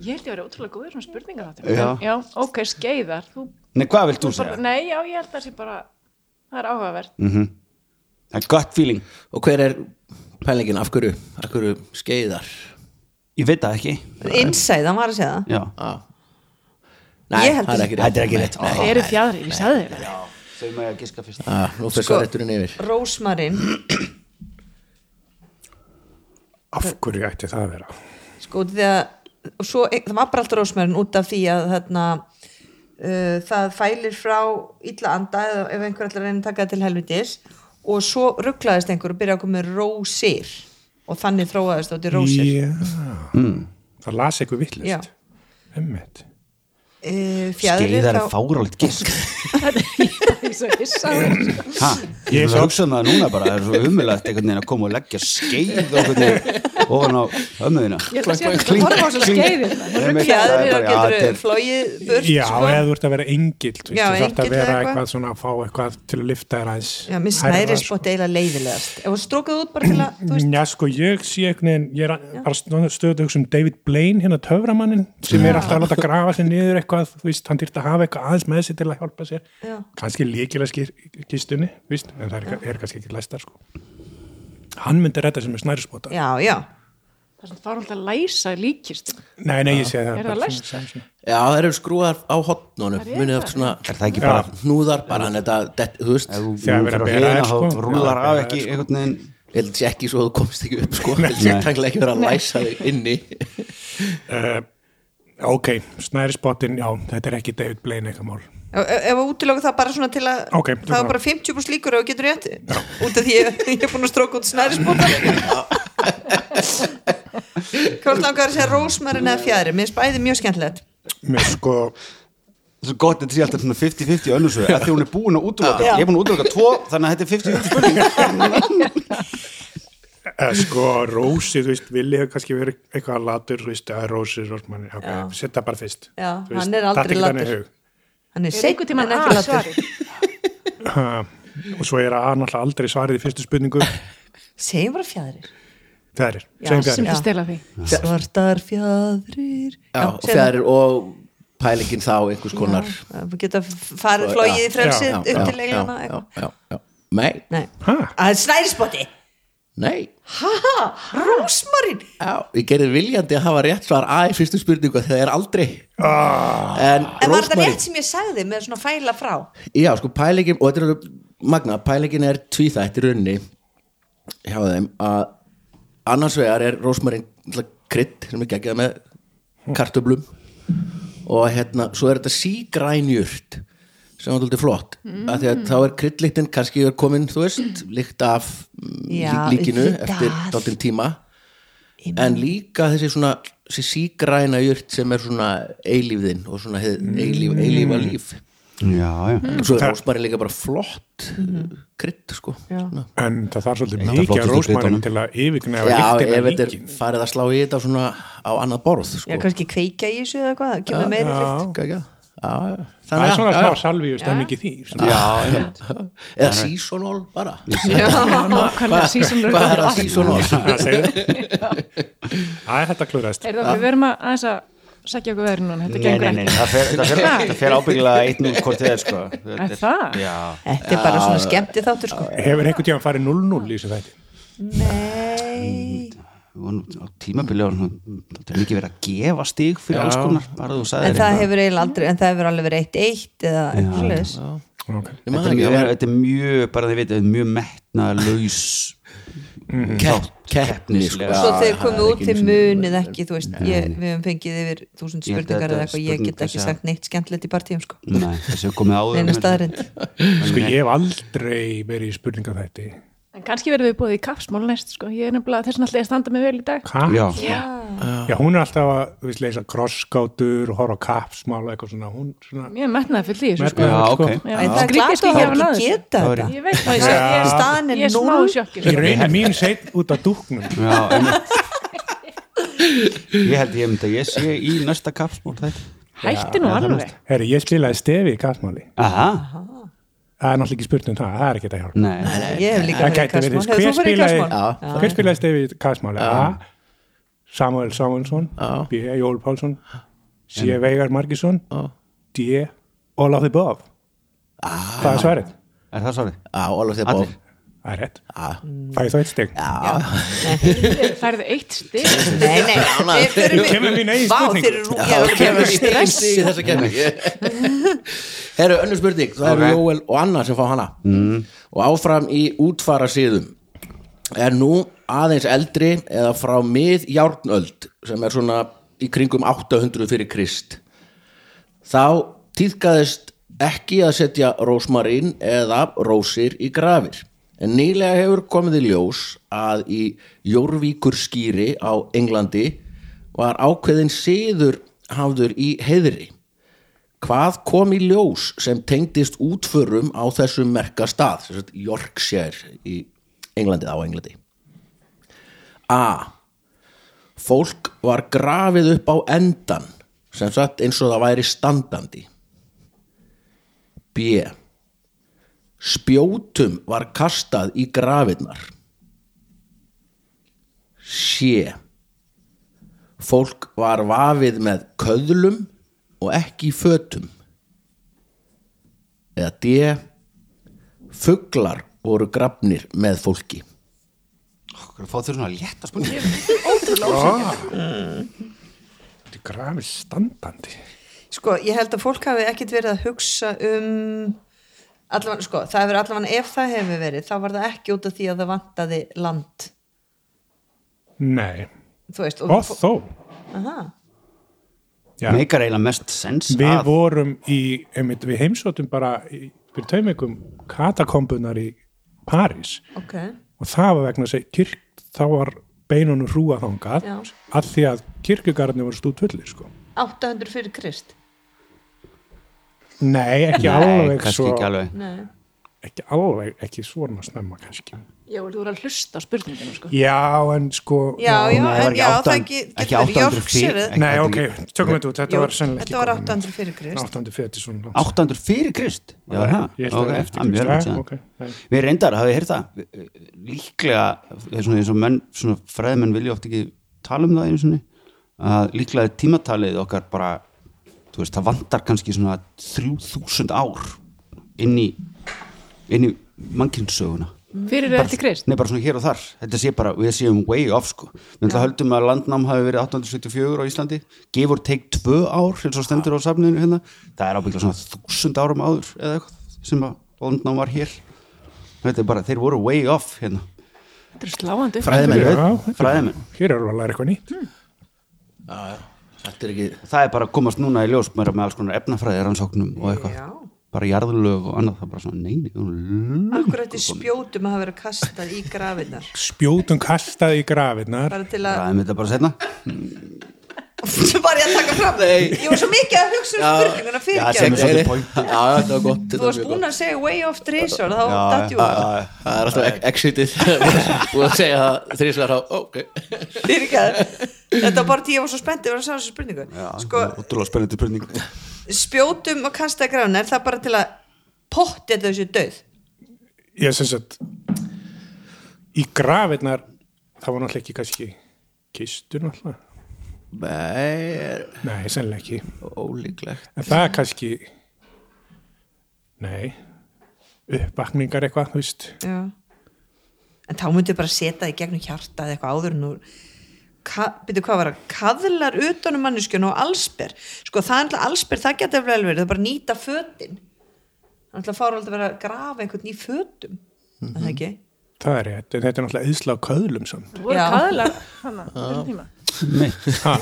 D: Ég held ég að vera ótrúlega góður svona spurninga
C: Já.
D: þáttum Já, ok, skeiðar þú,
C: Nei, hvað vilt þú
D: bara,
C: segja?
D: Nei, já, ég held að það sé bara Það er áhugavert
C: Það er gott feeling.
B: og hver er pælingin, af hverju, af hverju skeiðar
C: Ég veit það ekki.
F: insæð, hann var að segja það
C: Já.
B: ah.
F: Ég
B: það er
F: held þessi-
B: ekki rétt
C: Þetta er ekki rétt. Ó,
D: Það eru fjadri, ég sagði þér það
C: Þau maður að giska fyrst.
B: ah, Nú fyrir
F: Sko-
B: svo rétturinn yfir
F: Rósmarin,
E: Af hverju ætti það að vera?
F: e, sko því að og svo, það var bara alltaf rósmarin út af því að þarna uh, það fælir frá illa anda eða ef einhver allar reyna að taka það til helvitis og svo rugglaðist einhver og byrja okkur með rósir og þannig þróaðist átti rósir yeah.
E: það las eitthvað
F: Já.
E: vittlust Emmett
F: uh, fjæðrir
C: Skeiðar
F: þá
C: er fáralt gisk
D: Ég er svo hissa á þér.
C: Ha, ég er hugsaðum það núna bara, það er svo umulagt einhvern veginn að koma og leggja skeið og einhvern veginn ofan á ömmuðina
D: Ég ætla að sé að þetta horfa á svo skeiðir hérna.
C: Það
F: fjæðrir þá
C: er bara-
F: getur flóið burt
E: Já,
F: sko.
E: eða þú ert að vera engill þú
F: Já,
E: þarf
F: engill
E: að vera
F: eða
E: eitthvað,
F: eitthvað.
E: svona að fá eitthvað til að lifta þér aðeins
F: Já, mér
E: hærra,
F: snæri
E: sko.
F: spott eiginlega leiðilegast ef þú strókaði út bara til að þú veist,
E: Já, sko, ég sé einhvern veginn, ég er að- bara stöðuð að hugsa um David Blaine, hérna töframannin, sem er alltaf að láta grafa sér niður eitthvað, þú veist, hann þyrfti að hafa eitthvað aðeins með sér til að hjálpa sér.
F: Já.
E: Kannski líkilega skýr- kistunni, þú veist, en það er, er kannski ekki læstar, sko. Hann myndi redda sér með snærspota.
F: já, já,
D: Það er svona fárhald að læsa líkist
E: Nei, nei, ég sé það.
D: Er
E: bara
D: það læst?
E: svona- svona-
B: Já, það eru skrúðar á hotnunum munið eftir svona
C: Er það ekki bara
B: hnúðar bara en þetta, det- þú veist,
C: Ef þú
E: Þegar
C: fyrir
E: verið að
C: að hliðina
E: bera
C: þá
E: þær, sko.
C: rúlar
E: Já,
C: af
E: bera
C: ekki
E: þær,
C: einhvern veginn
B: held sér ekki svo að þú komst ekki upp sko, held sér tanglega ekki vera að læsa þig inni
E: Ok, snærspottin, já, þetta er ekki David Blaine eitthvað mál.
F: ef ef að útiloka það bara svona til að
E: Ok,
F: það
E: tökum
F: er bara 50 pluss líkur ef þú getur rétt út af því ég, ég er búin að stróka út snærispóta hvort langar að segja rósmarin eða fjæðri mér spæði mjög skemmtilegt
E: Mér sko,
C: Svo gott þetta sé alltaf svona 50-50 önnursöðu Þegar hún er búin að útloka,
F: Já.
C: ég er búin að útloka tvo Þannig að þetta er 50-50 spurning
E: eh, sko, rósi, þú veist, villi hefur kannski verið eitthvað latur, þú veist, að rósi, rósmanni,
F: Já.
E: ok, setja bara fyrst.
F: Já,
E: Þú veist,
F: hann er
E: datt
F: aldrei
E: ekki þannig í
F: latur.
E: hug.
F: hann er
D: Er einhvern
F: seint en
D: tímann
F: ekki
D: að
F: latur
D: svari
E: Ha, og svo er að náttúrulega aldrei svarið í fyrstu spurningu
F: segjum bara fjæðrir
E: fjærir,
F: Já,
E: segjum
D: sem
E: fjærir
F: Já.
D: þið stela því
F: svartar fjæðrir
B: Já, og fjærir og pælingin þá einhvers konar
F: það geta farið flóið í frelsið
E: Já,
F: upp til eiginlega
B: já,
F: eitthvað.
B: já, já. Nei,
F: nei,
E: Ha?
F: að snærispóti
B: nei
F: rósmarin
B: Já, ég gerði viljandi að hafa rétt svar að í fyrstu spurningu þegar það er aldrei ah. En,
F: en var þetta
B: Rósmary-
F: rétt sem ég sagði með svona fæla frá
B: Já, sko pælingin, og þetta er magna, pælingin er tvíþætt í rauninni hjá þeim að annars vegar er rosmarin krydd sem er geggjað með kartöblum og hérna, svo er þetta sígrænjurt sem er alltaf flott mm. að því að þá er kryddlíktin kannski er komin, þú veist, líkt af mm,
F: Já,
B: lík- líkinu
F: líkt
B: eftir
F: af.
B: dottin tíma en líka þessi svona þessi sígræna jurt sem er svona eilífðin og svona hið, eilíf,
F: Mm.
B: eilífa líf
C: Já, já
B: svo er rósmarin líka bara flott krydd sko Svona.
E: en það þarf svolítið
C: Eitt af
E: mikið
C: flottustu
E: rósmannum
C: bitunum.
E: til að
B: já,
E: yfirgna að
B: ef þetta
E: lyktina
B: er
E: líkin
B: farið að slá í þetta svona á annað borð sko.
F: Já, kannski kveikja í þessu eða hvað, kemur meira lykt.
B: Ekki, ekki? Já, já.
E: það er
B: Þannig
E: svona
B: að- já,
E: smá salvi og stemmingi því svona.
B: já. eða seasonal bara
D: Nákvæmlega seasonal.
B: hvað er að seasonal?
E: það segir það er þetta klúraðist
D: Er það, við verum að aðeins að sækja okkur veðri núna, þetta
C: Nei,
D: gengur
C: nei, nei, það fer, það fer,
D: Ha?
C: það fer ábyggilega eitt nú hvort þið er sko Þetta
D: Er það?
C: Já,
F: Þetta er bara svona skemmti þáttur sko
E: hefur einhvern tíðan farið 0-0 í þessu þætti
F: Nei
C: við vorum á tímabili og það er mikið verið að gefa stig fyrir alls konar bara þú sagðir
F: En það
C: eitthvað.
F: hefur eiginlega aldrei, en það hefur alveg verið eitt eitt eða eitthvað leðis
E: okay.
B: Ég man
C: Þetta er, mjög,
B: ekki, það var
C: þetta er mjög, bara þið veit, mjög metna, laus
B: kepp- keppni sko.
C: Já,
F: Svo þegar
B: það
F: komið
B: er
F: út til
B: ekki einu
F: munið
B: sinni-
F: ekki, þú veist, ég, við hefum fengið yfir þúsund
C: Ég held að
F: spurningar
C: þetta
F: eða
C: er
F: eitthvað, ég
C: spurning
F: get ekki
C: hversu-
F: sagt neitt skemmtilegt í partíum sko
C: Nei, þessi hefur komið áður
F: Neina staðarind
E: sko ég hef aldrei verið í spurninga þætti
D: En kannski verðum við búið í kappsmál næst sko. Ég er nefnilega þess að alltaf að standa mig vel í dag
E: Kapp?
C: Já,
E: já, hún er alltaf að þú veist, leysa krosskátur og horfa á kappsmál og eitthvað svona hún svona
D: Mér er metnaði fyrir því þessu, sko.
C: já,
E: Sko.
C: ok
D: Já,
F: En það er
D: skrítið
F: klart
D: skil
F: að
D: ég
F: það
D: hafi náð
F: ekki
D: þessu.
F: geta
C: Það er-
F: þetta
D: Ég veit það,
F: Já.
D: ég,
F: Staðan
D: ég,
F: er
D: ég er smá
F: núll.
D: sjokki sko.
E: í raunin mín seitt út af dúknum
C: Já, einmitt Ég held ég myndi að ég sé í næsta kapsmál þetta
D: Hætti nú alveg
E: herri, ég spilaði stefi í kappsmáli
C: Aha,
E: það er náttúrulega ekki spurning um það, það er ekki þetta hjálp
C: nei,
F: Ég hef líka
E: Það
F: farið í
E: gæti verið,
F: kasmál Hefur
E: hver
F: þú farið
E: spilaði-
F: í kasmál?
B: Já.
E: Hver spilaði Stefi í Kasmáli? A. Samuel Samuelsson B. Jól Pálsson C. Veigar Margisson D. Olaf the Bob Hvað er svarið?
C: er það svarið?
B: Já, Ólaf þegar bóð
C: Allir.
E: Það er rétt Fæði þá eitt stygg
D: Færðu eitt stig
F: Nei, nei, við förum
E: Nú kemur mín eigin
F: Vá,
E: spurning.
F: þeir eru rúkja
B: stressi í þessa kemni Herru, önnur spurning það eru Jóel og Anna sem fá hana og áfram í útfara síðum er nú aðeins eldri eða frá mið járnöld sem er svona í kringum 800 fyrir Krist þá Týðkaðist ekki að setja rósmarín eða rósir í grafir. En nýlega hefur komið í ljós að í Jórvíkur skýri á Englandi var ákveðin siður hafður í heiðri. Hvað kom í ljós sem tengdist útförum á þessum merka stað, sem sagt Yorkshire í Englandi, á Englandi? A. Fólk var grafið upp á endan, sem sagt eins og það væri standandi. B. Spjótum var kastað í grafirnar. C. Fólk var vafið með köðlum og ekki fötum. Eða D. Fuglar voru grafnir með fólki.
C: Hvað fá þér svona létta spurning?
E: Þetta er grafið standandi
F: sko, ég held að fólk hafi ekkit verið að hugsa um allavega, sko, það hefur allavega ef það hefur verið, þá var það ekki út af því að það vantaði land
E: Nei,
F: þú veist,
E: og þó
F: aha,
E: Já.
C: Meikar eiginlega mest sens
E: Við
C: að
E: vorum í, einmitt, við heimsóttum bara í, fyrir taumengum katakombunar í París
F: ok
E: og það var vegna þess að kirk, þá var beinunum hrúa þangað
F: Já.
E: að því að kirkugarðinu voru stútt fullir sko.
F: 800 fyrir Krist
E: Nei, ekki
C: Nei,
E: alveg
C: kannski
E: svo
C: ekki alveg
F: Nei.
E: ekki alveg, ekki svona snemma kannski.
D: Já, þú voru að hlusta á spurninginu sko.
E: Já, en sko
F: já, já,
C: Nei,
F: en já, það ekki,
C: ekki
F: getur verið
C: 800 fyrir
F: Yorkshire
E: Nei, ok,
C: ekki-
E: tökum þetta út, þetta var sennilega
F: þetta var 800 fyrir Krist
E: 8. feti svona langt.
C: 800 fyrir Krist Já, það,
E: Ég held að
C: ok,
E: það er
C: það er mjög langt
E: eftir Krist.
C: síðan.
E: Ok, nei.
C: Við reyndar, hafið heyrt það eh, líklega, það er svona eins og menn svona fræðmenn vilja oft ekki tala um það einu sinni, að líklega er tímatalið okkar bara, þú veist það vantar kannski svona 3000 ár inn í inn í mannkynnsöguna
D: Fyrir eða eftir Krist
C: Nei, bara svona hér og þar, þetta sé bara, við séum way off sko, við ætla höldum að landnám hafi verið 1874 á Íslandi, gefur teik tvö ár, eins og stendur á safninu hérna, það er ábyggla svona þúsund árum áður eða eitthvað sem að landnám var hér þetta er bara, þeir voru way off hérna,
D: Þetta er sláandi
B: Fræðimenn.
E: Já, þetta-
C: fræðimenn
E: Hér erum við að læra eitthvað nýtt
B: Þetta er ekki
C: það er bara að komast núna í ljós meira með alls konar efnafræði rannsóknum og eitthvað
F: Já.
C: bara jarðlög og annað, það er bara svona neini lög
F: akkur eftir spjótum að hafa verið kastað í grafinnar
E: Spjótum kastað í grafirnar
F: bara til að,
C: Það er þetta bara setna
F: svo var ég að taka fram ég var svo mikið að hugsa um spurninguna fyrir
C: Já, sem er
F: ekki
C: svolítið
B: Nei, nei.
C: pointin.
B: Já, já, þetta var gott
F: þú varst búin að segja way off trisor þá datt jú
B: Það er alltaf ex- exitið Búin að segja það þrísvar á Ok
F: Fyrirgefðu. þetta var bara því ég var svo spennt ég var að segja þessu spurningu sko,
C: Ótrúlega spennandi spurning
F: spjótum og kasta grána er það bara til að potti þetta þessu döð
E: ég sem sagt í grafirnar það var náttúrulega ekki kannski kistur náttúrulega,
B: Nei, er
E: nei, sennilega ekki en
B: ólíklegt
E: það er kannski nei uppvakningar eitthvað, þú veist
F: Já. en þá myndi bara setja það í gegnum hjarta eða eitthvað áður en úr byrju hvað var það, kaðlar utanum manneskjun og allsber sko það er alltaf allsber, það getur vel verið það er bara að nýta fötin það er alltaf fárald að vera að grafa einhvern í fötum mm það ekki
E: það er rétt, en þetta er náttúrulega yðsla á köðlum samt,
D: Þú voru
F: Já.
D: kaðlar hana, fyrir tíma
E: ha,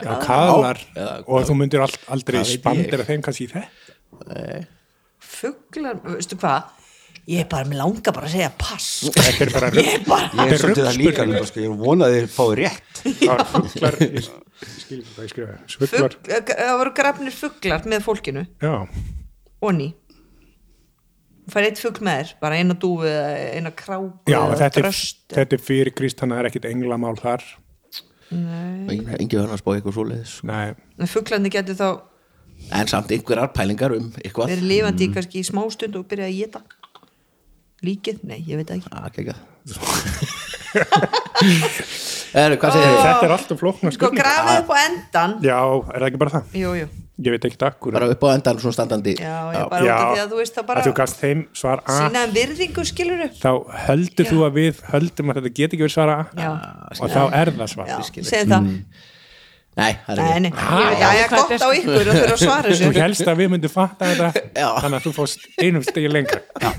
E: að kaðlar
B: Já,
E: og þú myndir all, aldrei
B: Hvað veit ég?
E: spandera þeim kannski í þetta
F: fuglar, veistu hvað ég er bara, mér langar bara að segja pass
E: þetta er bara
F: ég er bara
C: Ég er svolítið það líka
E: Þetta er
C: núna, sko, ég er vonaði að þið fáið rétt
E: röggspurning. fuglar ég skil ekki hvað ég skrifa, fuglar
F: Fugl, það voru grafnir fuglar með fólkinu
E: já,
F: og ný fær eitt fugl með þér, bara eina dúfu eða eina kráku
E: já
F: eða
E: þetta, er,
F: dröst eða-
E: þetta er fyrir Krist þannig að það er ekkit englamál þar
B: Engi verðan að spá eitthvað svoleiðis
E: nei,
F: en fuglarnir getur þá
B: En samt einhverjar pælingar um eitthvað
F: verið lifandi mm. kannski í smástund og byrja að geta líkið, nei, ég veit það ekki
B: Ah, kekja Erðu, hvað segir þið?
E: þetta er alltaf flókna
F: sko
E: spurning Ah.
F: grafið upp á endan
E: Já, er það ekki bara það?
F: jú, jú,
E: Ég veit ekki akkur
B: Bara upp á endan svona standandi
F: já, ég bara út af því að þú veist það
E: að þú
F: bara
E: gast þeim svar A
F: sína um virðingu skilur upp
E: þá heldur þú að við höldum að þetta geti ekki verið svara A
F: já,
E: og þá er það svar
F: já,
E: A.
F: segðu það
B: Nei, það er
F: nei,
B: ekki
F: nei, ég veit það, ég er gott á ykkur og þurfa að svara
E: Þú
F: þessu
E: helst að við myndum fatta þetta
B: Já.
E: þannig að þú fórst einum stegi lengra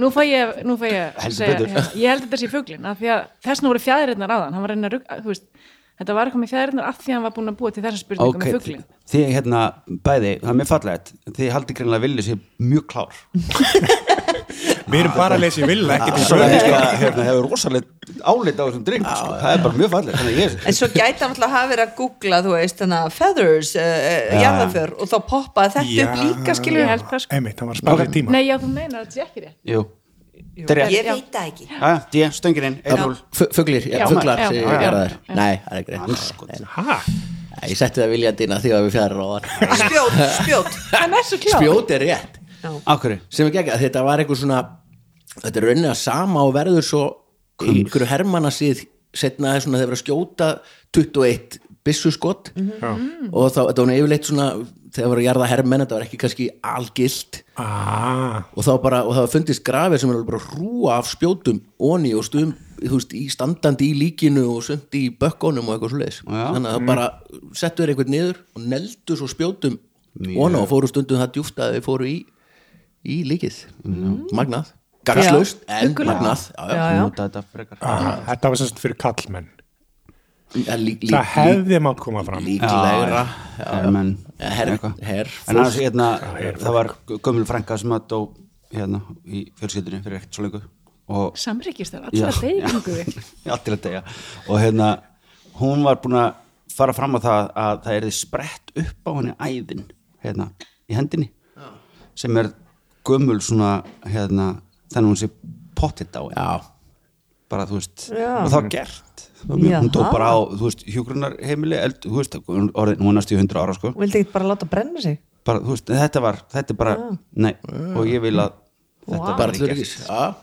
D: Nú fæ ég, nú fæ ég að
C: Heldur
D: segja,
C: betur.
D: ég held að þetta sé fuglin af því að þessna voru fjæðirinnar áðan hann var að reyna að rugga, þú veist Þetta var eitthvað með fjæðirnar af því að hann var búin að búa til þessa spurningu með fuglin.
C: þið hérna bæði, það er mjög fallegt þið haldið greinlega vilja sér mjög klár
E: Við erum bara að lesa í sko. vilja, ekki til
C: Svona,
E: sögur
C: hérna, hérna, hefur rosalegt álit á þessum dreng sko. það er bara mjög fallegt þannig að ég
F: En svo gæti hann alltaf hafa verið að googla, þú veist, þannig að feathers, uh, uh, jarðaför og þá poppaði þetta upp líka, skilur
D: Ég held það, sko.
E: Einmitt, hann var að spara í tíma
D: Nei, já, þú meinar að þetta sé ekki rétt.
C: Jú, þetta er rétt
F: Ég veit það ekki.
C: Já, já, ég stöngir inn, einn rúl
B: F- Fuglir,
D: Já,
B: ja, fuglar
D: já,
B: sem ég
D: já,
B: gerða
D: já.
B: þær Nei, það er ekki
C: Andskot.
B: reynd
E: Ha?
B: Ég setti það viljandi inn að því að við fjara ráðan
F: Spjót, spjót.
D: Hann er svo klár.
B: Spjóti er rétt
C: Á hverju?
B: sem er geggjað, þetta var eitthvað svona þetta er raunin að sama og verður svo í einhverju hermanna síð setna þegar þeir verið að skjóta 21 byssuskott og þá, þetta var nú yfirleitt svona þegar voru að jarða hermenn, þetta var ekki kannski algilt
E: Ah,
B: og þá bara, og það var fundist grafið sem er alveg bara að rúa af spjótum onni og stum, þú veist, í standandi í líkinu og sönd í bökkunum og eitthvað svoleiðis
C: Já. Mm.
B: þannig að það bara settu þér einhvern niður og neldu svo spjótum onna og fóru stundum það djúft að þau fóru í í líkið, magnað gagnslaust, en magnað já, já.
F: Já, já.
C: Nota þetta frekar
E: ah, þetta var sérst fyrir kallmenn
B: Já, Lí, Mm. lí,
E: Það hefði mátt koma fram
B: líklegra
C: Hermenn
B: her,
C: eitthvað.
B: her,
C: En annars, hérna, það var gömul frænka sem að dó hérna í fjölskyldunni fyrir ekkert svo lengu og
D: Samrýkist þar, allra deyðingu við.
C: allir að deyja og hérna, hún var búin að fara fram á það að það erði sprett upp á henni æðin hérna, í hendinni sem er gömul svona hérna, þannig hún sé pottitt á henni
B: já,
C: bara þú veist,
F: Já.
C: og það var gert Það var mjög- hún dó
F: Jaha.
C: bara á, þú veist, hjúgrunarheimili eld, þú veist, hún orðin, hún er næstu í 100 ára sko.
F: Hún vildi ekki bara láta brenna sig.
C: bara, þú veist, en þetta var, þetta er bara nei, og ég vil að þetta
F: Vá.
C: wow.
B: bara allur líkis já,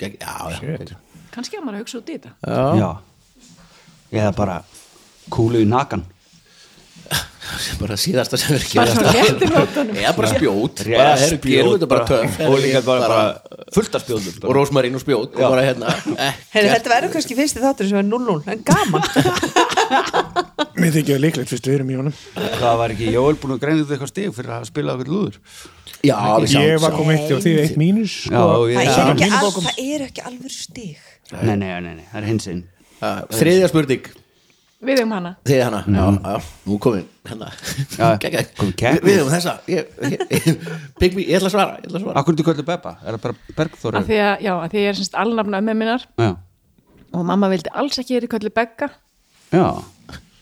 B: gegn, já, já,
D: Kannski að maður að hugsa út í þetta.
C: já, eða bara kúlu í nakan
B: bara síðasta sem er
D: Bara
B: gerast.
D: svona léttir nótunum.
B: eða bara spjót
C: Rétt
B: bara herru,
C: spjót,
B: gerum þetta bara
C: bara-
B: töff
C: og líka bara- bara fullt af spjótum, bara.
B: og rosmarín og spjót og bara hérna
F: Heyri,
B: ekkert.
F: þetta verður kannski fyrsti þáttur sem er 0-0, en gaman.
E: Mér þykir það líklegt fyrst við erum í honum
C: það var ekki Jóel búin að greina þetta eitthvað stig fyrir að spila okkur lúður
B: já, við sjáum
E: Ég var komið eitt og þið eitt mínus
C: Já,
E: sko.
C: og ég-
F: Það
C: Já.
F: er
E: Samkvæmt
F: ekki,
E: mínum
F: al,
E: bókum.
F: það er ekki alveg stig.
C: nei, nei, nei, nei, það er hins einn
B: Uh, þriðja spurning
D: Við um hana.
B: þið hana, já, já, nú komin hérna,
C: Mm. Já,
B: Geggjað.
C: komin keppni.
B: við hefum þessa ég, ég, ég, Pick me, ég ætla að svara, ég ætla að svara.
C: Akkur þú kallar Beba, er það bara Bergþóra
D: Af því að, já, af því að ég er semst alnafna ömmu minnar
C: Já,
D: og mamma vildi alls ekki verið kallið begga.
C: já,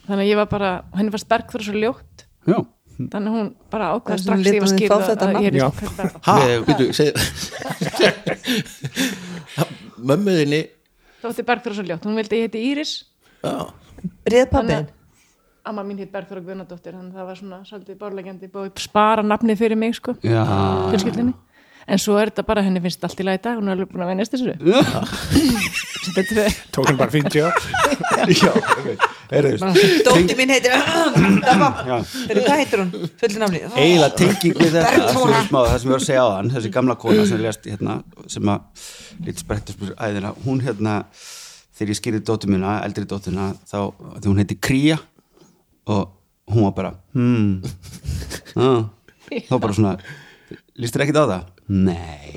D: Þannig að ég var bara, henni fannst bergþóra svo ljótt.
C: já
D: Þannig að hún bara ákveða
F: Þannig
D: strax
F: lét
D: ég var
F: Hm. hún þig
D: skýrð
F: fá þetta
D: að ég er
E: nafn.
D: ekki kallið begga.
B: ha,
C: Ég-
B: býtu, segðu mömmuðinni
D: Þótti bergþóra svo ljótt. Hún vildi að ég heiti Íris.
B: já,
F: Rið
D: Þannig
F: pappin.
D: að amma mín heit bergþóra Guðnadóttir. Þannig að það var svona svolítið bárlegjandi búið spara nafni fyrir mig, sko.
C: Já,
D: fjölskyldinni en svo er þetta bara, henni finnst allt í lagi í dag hún er alveg búin að venjast þessu Sem betur fer.
E: Tók hann bara 50 ár
F: Dótti mín heitir Hvað heitir hún? Fullu nafni.
C: eiginlega tenging við þetta
F: Bergþóra.
C: svona smá, það sem ég var að segja á hann, þessi gamla kona sem lést hérna, sem að lítið sprettur spyrir æðina, hún hérna þegar ég skýrði dóttur mína, eldri dótturina þá, því hún heiti Kría og hún var bara hmm, ah, þá bara svona lístur ekkert á það? Nei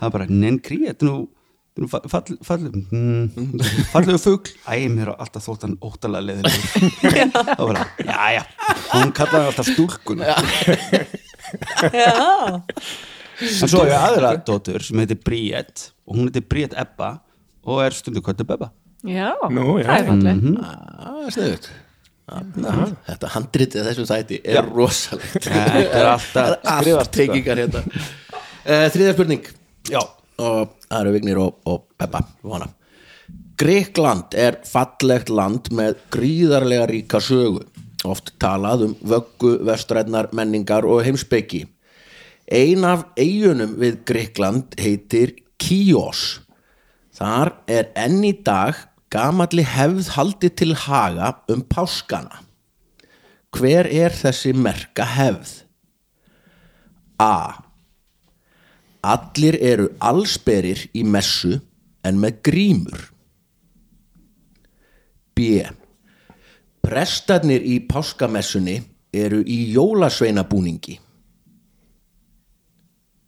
C: það var bara, nein Kría þetta er nú, þetta er nú fall, fall, fall, hmm, fallegu fugl æg mér á alltaf þótt hann óttalega leðileg þá bara, já já hún kallaði hann alltaf stúlkuna
F: Já.
C: En svo er aðra dóttur sem heitir Bríett og hún heitir Bríett Ebba og er stundu kvöldu Bebba
D: já,
E: Nú, já.
D: það er fallið
B: ah, sniðut þetta handritið þessu þætti er rosalegt
C: Þetta er alltaf
B: það er allt tekingar hérna uh, þriðja spurning já. og það eru Vignir og, og Beppa vona. Gríkland er fallegt land með gríðarlega ríka sögu oft talað um vöggu, vestrætnar, menningar og heimspeki ein af eigunum við Gríkland heitir Kíos þar er enn í dag gamalli hefð haldið til haga um páskana hver er þessi merka hefð? A. Allir eru allsberir í messu en með grímur. B. Prestarnir í páskamessunni eru í jólasveinabúningi.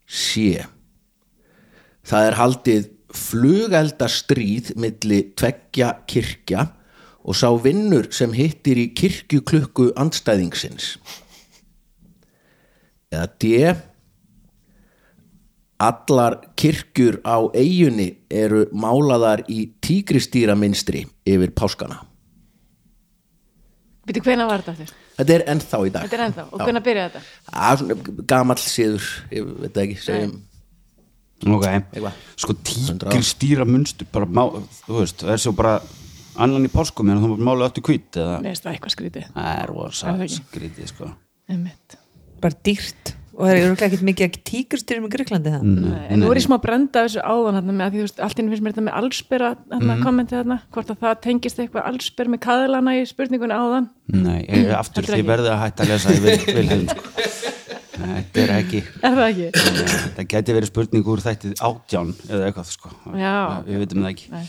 B: C. Það er haldið flugeldastríð milli tveggja kirkja og sá vinnur sem hittir í kirkjuklukku andstæðingsins eða D allar kirkjur á eigunni eru málaðar í tígristýra yfir páskana
D: Býtu, hvenær var þetta aftur?
B: þetta er ennþá í dag
D: Þetta er ennþá, og
B: Já.
D: hvenær byrjaði þetta?
B: Það er svona gamall síður, ég veit það ekki, segjum
C: ok,
B: Eitthvað.
C: sko tíkir stýra munstur bara má, þú veist, það er svo bara annan í páskum, en þú málu aftur kvít eða,
D: Mér veist það eitthvað skrítið,
C: það er rosa
D: Er það ekki?
C: skrítið sko
D: einmitt
F: bara dýrt og það eru örugglega ekkert mikið tíkurstyrjum í Greiklandi það
C: Mm.
D: Nei, En nú er ég smá brenda af þessu áðan hérna, með að því þú veist, allt inni finnst mér þetta með allsbyrra hérna,
C: Mhm.
D: kommentið hérna, hvort að það tengist eitthvað allsbyrr með kaðlana í spurningunni áðan
C: nei, ég, aftur,
D: Heldur
C: þið
D: ekki.
C: verðið að hætta að lesa ég vil, vil hefum sko Nei, þetta er ekki
D: Er það ekki?
C: það geti verið spurning úr þættið átján eða eitthvað sko
D: Já.
C: við veitum það ekki
D: Nei.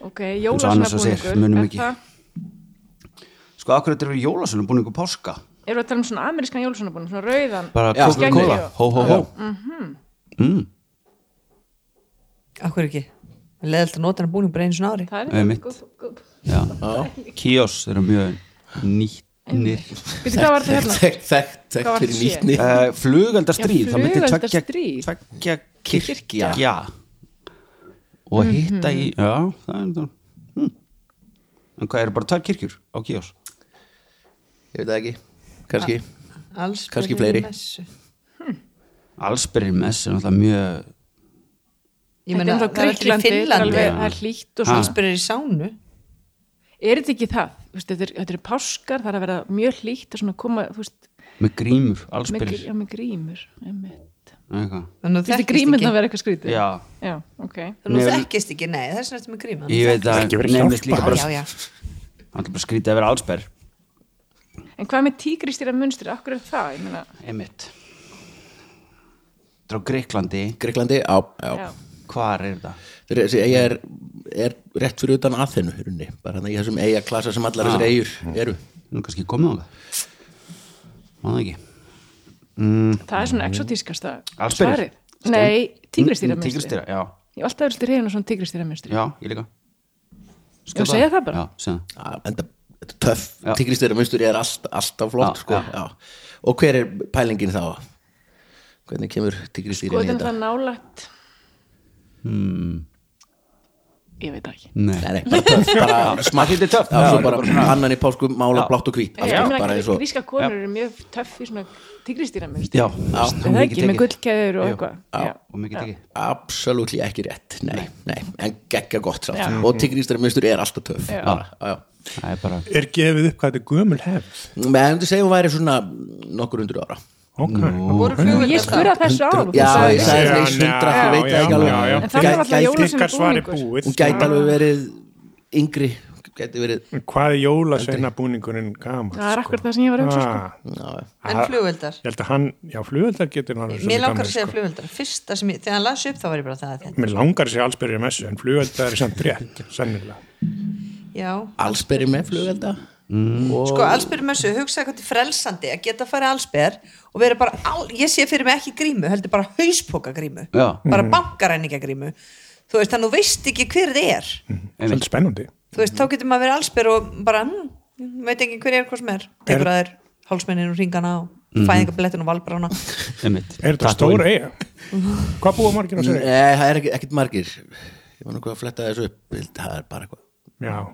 D: Ok,
C: og Anna svo segir,
D: jólasveinabúningur
C: munum
D: er
C: ekki.
D: það-
C: sko akkur þetta eru jólasölu búin ykkur páska
D: Erum við að tala um svona amerískan jólasveinabúning, svona rauðan
C: bara
B: Já,
C: kóla,
D: geggjur.
C: hó hó hó
F: Akkur ekki Leðalt að nota hann búning bara einu svona ári
D: Það er
C: Einmitt.
D: gúpp, gúpp.
C: Já. kíos eru mjög nýttnir
D: Býtu, hvað var þetta hérna?
B: Þekkt, þekkt,
D: Hvað
B: þekkt
D: var
B: fyrir
D: þetta sé?
B: nýtni
C: uh, flugeldastríð
D: Já,
C: það myndi tveggja-
D: flugeldastríð.
C: tveggja
B: Kirkja.
C: kirkja og hitta í já, það er það hm. en hvað eru bara tvær kirkjur á kíos
B: Ég veit það ekki, kannski
F: Alls
B: Kannski fleiri.
F: Ég
C: allsbyrjum mess er náttúrulega mjög
F: meina,
D: Þetta
F: það
D: er
F: er allir í
D: Gríklandi, þetta er
F: Finnlandi
D: alveg- það er hlýtt og svona.
F: Allsbyrjur í sánu
D: Er þetta ekki það? Þú veist, Þetta er, þetta er páskar, það er að vera mjög hlýtt og svona koma, þú veist,
C: með grímur,
D: með, grí-
C: allsbyrjur
D: já, með grímur. einmitt.
F: Þannig að
D: Þú
F: þú
D: veist,
F: þekkist
D: grímurna
F: ekki
D: vera eitthvað skrítið?
C: já,
D: Já, ok.
F: Þannig að þú
C: Nei,
F: þekkist ekki, nei, það er svona eftir með gríma
C: ég veit að
E: ekki verið
C: Nei,
E: hjálpað.
C: mér finnst líka
F: Já, já,
C: bara, hann er bara skrítið að vera allsbyrj
D: En hvað með tígristýra munstur, akkur er það? Ég meina,
C: einmitt þetta er á Greiklandi
B: Greiklandi, á,
D: já.
B: já
C: hvar er þetta?
B: Þessi eiga er, er rétt fyrir utan aðþennu hurunni, bara hann í þessum eiga klasa sem allar þessar eigur eru
C: nú er kannski komið á það maður ekki
D: Það er svona exotískasta
C: Allsberir.
D: svarið. Nei, tígristýra munstur.
C: tígristýra, Mm, já
D: Ég hef alltaf verið til reyðin á svona tígristýra munstur.
C: Já, ég líka
D: Ég segja það bara.
C: Já, segja það
B: Já, enda þetta er töff,
C: Já.
B: tígristýra munstur er allt, alltaf flott
C: Já,
B: sko.
C: já.
B: já. og hver er pælingin þá? Hvernig kemur
D: Og
B: tígristýrin í
D: þetta er
B: þetta?
D: það nálægt. Ég veit það ekki.
C: Nei,
B: Nei, nei, bara töff, bara smakk
C: Smakkið er töff
B: Já, svo bara annan í pásku, mála,
C: Já.
B: blátt og hvít
D: Ég
B: alltaf,
D: meina,
B: bara eins og
D: gríska konur eru mjög töff í svona tígristýra munstur.
C: Já,
D: Er það ekki, með gullkeður og
C: Jú.
D: eitthvað.
B: Já.
D: Já.
C: Og mikið tekið
B: absolutt ekki rétt, nei, nei en geggja gott sátt,
D: Já.
B: og tígristýra munstur er alltaf töff
D: Já.
B: Bara, já, já.
C: Það er bara
E: Er gefið upp hvað þetta er gömul hefð?
B: Nei, ég myndi segja hún væri svona nokkur hundru ára
E: Ok.
F: voru
D: Ég
F: flugur
D: spurði að þessu árum.
B: Já,
D: þú
B: ég
D: sagðir
B: sagði
E: Já,
B: það í sundra,
E: já,
B: ég veit það
E: já,
B: ekki alveg
E: já, já.
D: En það var alltaf
B: Gæti-
D: jólasveinar-
E: Ykkar svar er
D: búningur.
E: búið.
B: Hún gæti alveg verið yngri Gæti verið
E: En Hvað er jólasveina búningurinn gaman?
D: Það er akkur það sem ég var að hugsa,
F: En flugöldar
E: Ah, Ég held að hann, já flugöldar getur hann alveg svolítið
F: Mér langar
E: gamlir,
F: að segja
E: sko.
F: flugöldar Fyrsta sem ég, þegar hann las upp þá var ég bara það er þetta.
E: Mér langar að segja allsbyrjur messu, en flugöldar er samt rétt, sennilega.
F: Já
B: allsberi með flugelda
F: Sko, allsbyrjum messu, hugsaði hvað til frelsandi að geta að fara allsbyrjur og vera bara, all, ég sé fyrir mig ekki grímu, heldur bara hauspóka grímu,
C: Já.
F: bara
E: Mm.
F: bankaræninga grímu þú veist, þannig þú veist ekki hver þið er
E: Svolítið spennandi.
F: þú veist, þá getur maður verið allsbyrjur og bara, hm, veit ekki hver er hvers með er, tekur að þér hálsmennin og ringana og fæðingablettin og valbrána
C: Einmitt
E: Er þetta stór eiga? Hvað búa margir á sér eiga?
B: Nei, það er ekki- ekkert margir Ég var nú hvað að fletta þessu upp ég held að Það er bara eitthvað
E: Já,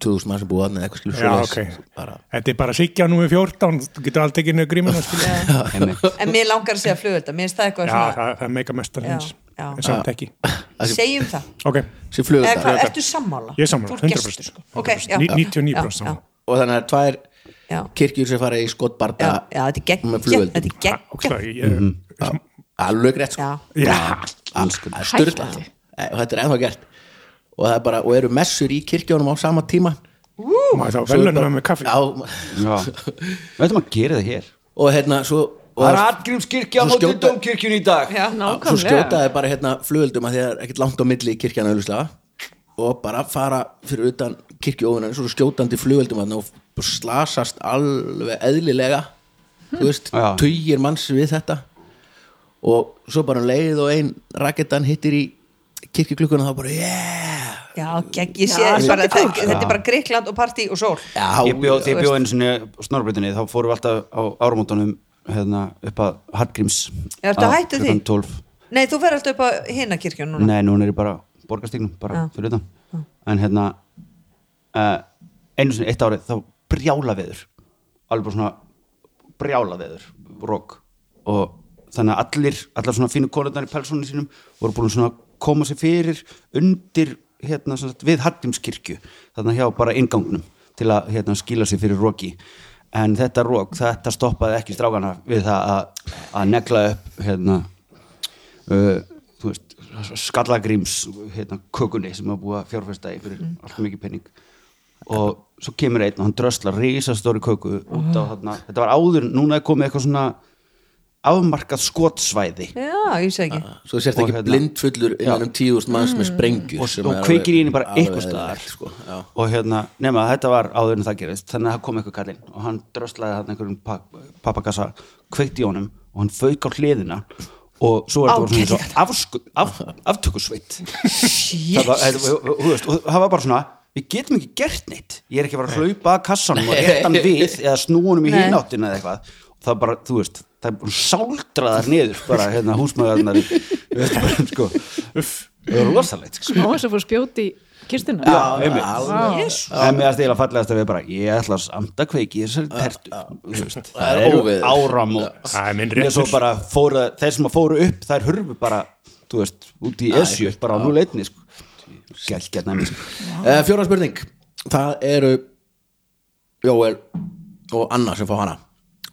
B: 2000 mann sem búið þarna eða eitthvað skilur
E: já, ok.
B: svoleiðis. bara,
E: Þetta er bara Sigga númið 14, þú getur allt ekki nefnir grímuna, skilja.
C: Einmitt
F: en mér langar að segja flugöldar, mér finnst
E: Já,
F: það eitthvað
E: það,
F: svona,
E: það er mega mestar
F: Já,
E: hins.
F: já.
E: En samt ekki.
F: segjum það
E: Ok,
B: sem
F: eða
B: flugelda
F: hvað, ertu sammála?
E: Ég er sammála,
F: Þú ert gestur,
E: 100%.
F: sko. Ok, já.
E: Ní- 99%
F: Já, já,
E: sammála.
B: og þannig að tvær
F: já,
B: kirkjur sem fara í
F: já,
B: skotbarda
F: já, þetta er
B: Með
F: geggja
B: flugeldum.
F: þetta er geggja
E: ókslega, ég,
B: alveg rétt sko
F: já,
E: já,
B: Það er styrlað
D: Hættulegt.
B: og þetta er ennþá gert og það er bara, og eru messur í kirkjónum á sama tíma
E: maður þá velunum með kaffi.
B: á,
C: Já Veitum að gera það hér
B: og hérna svo og
C: Það er atgrímskirkja á
B: Svo
C: móti
B: skjóta-
C: domkirkjun í dag
F: já,
B: svo
D: nákvæmlega.
B: skjótaði bara hérna flugöldum að því að það er ekkert langt á milli í kirkjana auðvitað og bara fara fyrir utan kirkjóðunan svo skjótandi flugöldum að og slasast alveg eðlilega þú veist,
C: Já.
B: tugir manns við þetta og svo bara um leið og ein raketan hittir í kirkjuklukkuna þá bara yeah
F: já, gegg, ég sé þess bara þetta, þetta er bara Greikland og partí og sól
C: ég bjó, þegar ég
F: veist.
C: bjó einu sinni snorbritinni þá fórum við alltaf á árumótunum hérna, upp að Hallgríms
F: Ertu að hættu því?
C: 12.
F: nei, þú fer alltaf upp á hina kirkjun núna
C: Nei, núna er ég bara borgarstíknum, bara
F: Já.
C: fyrir utan en hérna uh, einu sinni, eitt árið, þá brjála veður alveg bara svona brjála veður, rók og þannig að allir, allar svona fínu konundar í pelsónu sínum voru búin svona að koma sér fyrir undir hérna, sem sagt, við Hallgrímskirkju þannig hjá bara ingangnum til að hérna, skila sér fyrir róki en þetta rók, þetta stoppaði ekki strákana við það að, að negla upp hérna uh, þú veist, skallagríms hérna, kökunni sem að búa fjárfesta í fyrir allt mikið penning og svo kemur einn og hann dröslar risastóri köku út á þarna þetta var áður, núna er komið eitthvað svona afmarkað skotsvæði
F: já, ég sé ekki
B: Svo sérst
C: Og
B: ekki
C: hérna- Mm.
B: blindfullur innan um tíðust manns með sprengjur
C: og,
B: sem
C: og
B: er
C: kveikir í henni bara
B: alveg
C: eitthvað staðar
B: eðlilegt, sko. Já.
C: og hérna, nema að þetta var áður en það gerist þannig að það kom eitthvað kallinn og hann dröslaði hann einhverjum pappakassa kveikt í honum og hann fauk á hliðina og svo var þetta svona eins og afsku, af, aftökusveit það var, þetta- og- og- og- þú veist, og það var bara svona við getum ekki gert neitt ég er ekki að fara að hlaupa að kassanum og rétta hann við eða snúa honum í
F: Nei.
C: hináttina eða eitthvað það bara, þú veist, það er bara sáldraðar niður bara hérna húsmaðurnar sko, það er rosalegt sko.
D: Má þess að fór spjóti í kistuna?
C: Já, einmitt
F: Jesús.
C: En mér að stila fallegast að við bara Ég ætla að samt að kveiki í þessari tertu Þú veist, Það
B: er
C: er
B: óveður.
C: ó- áramót
E: Það er minn
C: Mér svo
E: réttur.
C: bara fóru, Þeir sem að fóru upp þær hurfu bara Þú veist, út í esju Bara á núleitni sko. Gækja næmi sko.
B: Eh, Fjóra spurning Það eru Jóel og Anna sem fá hana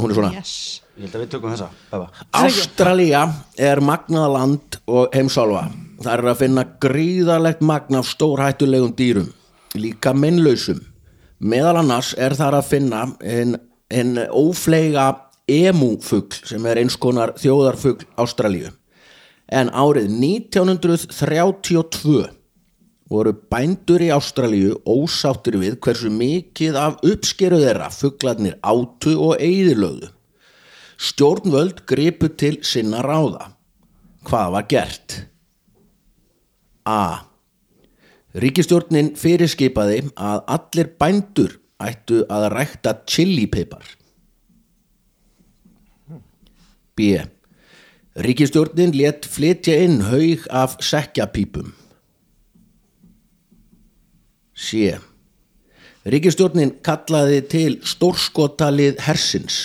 B: Hún er svona
F: yes.
C: Ég held að við tökum þessa Bæba.
B: Ástralía er magnað land og heimsálfa. Það er að finna gríðarlegt magn af stórhættulegum dýrum, líka minnlausum. Meðal annars er þar að finna en, en ófleiga emúfugl sem er eins konar þjóðarfugl Ástralíu. En árið 1932 voru bændur í Ástralíu ósáttir við hversu mikið af uppskeru þeirra fuglarnir átu og eigðilöðu. Stjórnvöld gripu til sinna ráða. Hvað var gert? A. Ríkistjórnin fyrirskipaði að allir bændur ættu að rækta chilipipar. B. Ríkistjórnin let flytja inn haug af sekkjapípum. C. Ríkistjórnin kallaði til stórskotalið hersins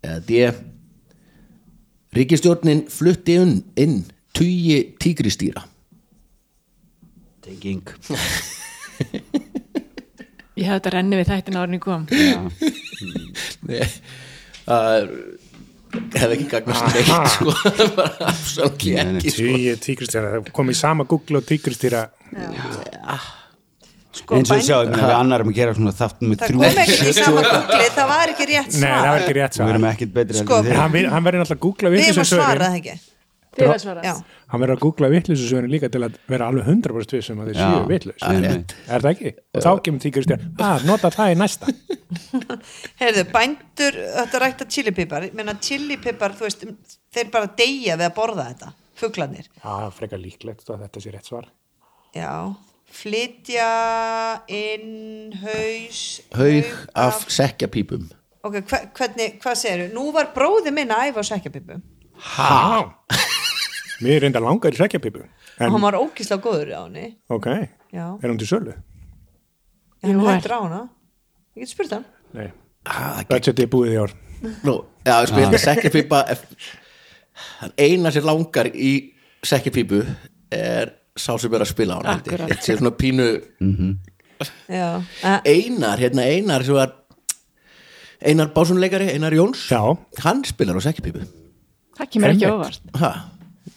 B: eða D Ríkistjórnin flutti inn, inn tugi tígristýra
C: Tenging
D: Ég hafði þetta renni við þættin árinni kom.
B: hefði ekki gagnast neitt sko bara absolutt
C: Nei, nei.
B: ekki sko.
E: Tíu tíkristýra, það kom í sama Google og tíkristýra
F: sko,
C: Eins og
F: bæn,
C: við sjáum Við annarum að gera svona þáttum með
F: það
C: þrjú
F: kom ekkert í sama googlið það var ekki rétt
E: Nei, það
F: svar
E: var ekki rétt
C: Við
E: svar
C: erum ekkert betri
F: Sko,
C: heldur en
E: En
C: þið.
E: Hann, ver- hann verður náttlega að googla
F: við erum
E: vitleysu
F: að svara
E: svörin
F: það ekki
D: Þið var svarað.
F: já,
E: Hann verður að googla vitleysu svörin líka til að vera alveg 100% við sem um að þeir
C: Já,
E: séu vitleys
C: einmitt.
E: Er það ekki? Og þá kemur tíkristýra Ah, nota það í næsta
F: heyrðu, bændur þetta rækta chilipipar, ég meina chilipipar þú veist, þeir bara deyja við að borða þetta fuglanir,
E: Það er frekar líklegt að þetta sé rétt svar
F: já flytja inn haus
B: haug af sekjapípum
F: ok, hva, hvernig, hvað segirðu, nú var bróði minn að æfa á sækjapipu og
E: Há Mér er enda langar í sækjapipu En,
F: hann var ókíslega góður á henni
E: ok,
F: Já.
E: er hún til sölu?
F: en
D: Jú,
F: hann
D: er.
F: hættur á hana ég get spurt hann
E: Nei, budgetið er búið í ár
B: Nú, já, sko, ah. sekjapípa er- hann eina sem langar í sekjapípu er sá sem er að spila á hann
D: Akkurat.
B: þetta sé svona pínu
F: já, Eh, að,
B: einar, hérna einar sem var Einar Básunleikari, Einar Jóns
E: Já.
B: hann spilar á sekjapípu
D: Það kemur ekki
E: Einmitt.
D: óvart.
B: Hæ,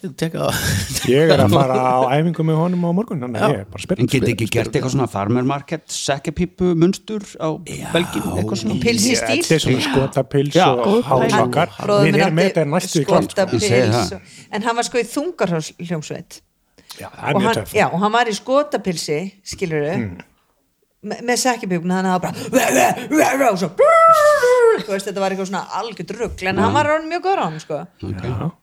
B: ég tekka það
E: Ég er að fara á æfingu með honum á morgun Þannig að
B: Já.
E: ég er bara að spila
C: En geti ekki gert eitthvað svona farmer market Sekkepípu munstur á Belgíu Eitthvað svona
F: pils í stíl
E: Þetta er svona skotapils
C: Já.
E: og hálfakar
F: Bróðir
E: Við
F: minn
E: erum með
F: átti
E: þetta næstu í kvöld sko.
C: Ég segi
F: skotapils
C: það.
F: og- en hann var sko í þungarhjómsveit
E: Já, það er
F: og
E: mjög
F: hann,
E: töff
F: já, og hann var í skotapilsi skilur þau með sekkjabjúkn hann hafa bara og svo þú veist, þetta var eitthvað svona algjörd rugg en hann var ráðin mjög góður á hann sko.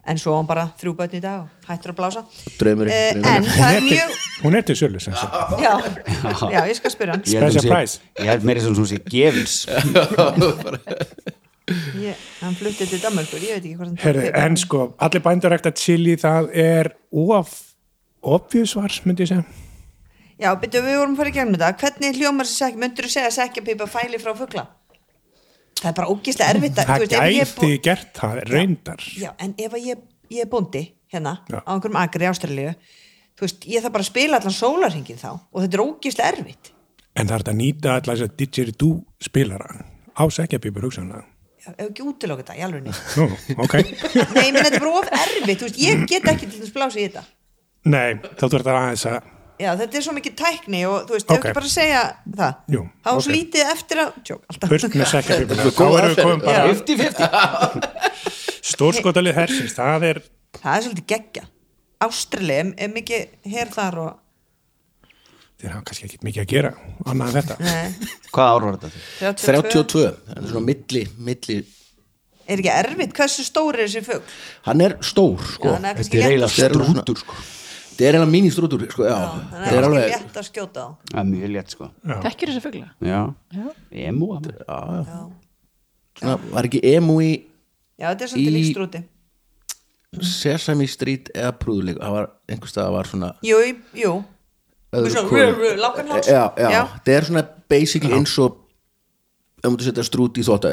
F: en svo á hann bara þrjú börn í dag og hættur að blása
B: Draumurinn,
F: Eh, en
B: draumurinn.
F: það er mjög
E: Hún er til sölu sem sagt.
F: já, já, ég skal spyrja hann
C: Ég held að hún
E: Special prize.
C: sé- ég er meiri sem svona sé gefins
F: ég, hann flutti til Danmörkur, ég veit ekki hvort hann tók
E: Herði,
F: til.
E: en sko, allir bændur ekta chili það er of obfjusvar, myndi ég segja
F: já, byrju, við vorum að fara í gegnum þetta hvernig hljómar þessi sekk, myndur þú segja sekkjapipa fæli frá fugla það er bara ógislega erfitt að-
E: Það
F: þú veist, ef ég er bú-
E: gæti gert það, reyndar
F: Já, en ef að ég, ég er bóndi hérna
E: Já.
F: á einhverjum agri í Ástralíu þú veist, ég þarf bara að spila allan sólarhingin þá og þetta er ógislega erfitt
E: En það er hægt að nýta alltaf þess að didgeridoo spilara á sekjapípur hugsanlega
F: Já, ef ekki útiloka þetta, í alveg nýtt
E: Nú, ok
F: Nei, menn þetta er bara of erfitt, þú veist, ég get ekki til þess blása í þetta
E: Nei, þá þú ert að aðeins að
F: Já, þetta er svo mikið tækni og þú veist, okay.
E: Ok.
F: ef ekki bara að segja það
E: Jú,
F: þá okay.
E: ok.
F: slítið eftir að, tjók, alltaf
E: burt með sekjapípur
B: Þetta er
E: Þá
B: góð
E: erum við
B: aðferð.
E: komin bara
C: 50-50
E: stórskotalið hersins Það er,
F: Það er svolítið geggja Ástralíu er- er mikið her þar og
E: þeir hafa kannski ekkit mikið að gera annað en þetta
F: nei,
C: hvað ár var þetta?
F: 32
B: 32, það er svona milli, milli
F: Er ekki erfitt, hversu stóri er þessi fugg?
B: hann er stór sko.
C: þetta
F: Þannig að
C: er
F: kannski létt
C: eiginlega
F: að-
B: Þetta er alveg svona-
C: strútur sko
B: þetta er eiginlega mínistrútur sko, já.
F: þannig
B: þetta er
F: að kannski
B: alveg
F: létt að skjóta þá
C: það er mjög létt sko
D: Tekkir þessa fugla?
C: já,
D: Já.
C: emu að mér.
B: svona, var ekki emu í
F: Já, þetta er svolítið
B: Í-
F: líkstrúti
B: Sesame Street eða prúðuleik það var einhvers það var svona
F: Jú, í- jú
B: öðru
F: Svona,
B: hvoru. Eh,
F: rö, rö, langan hals.
B: já, já,
F: Já.
B: það er svona basically eins og ef maður setja strút í þóttavel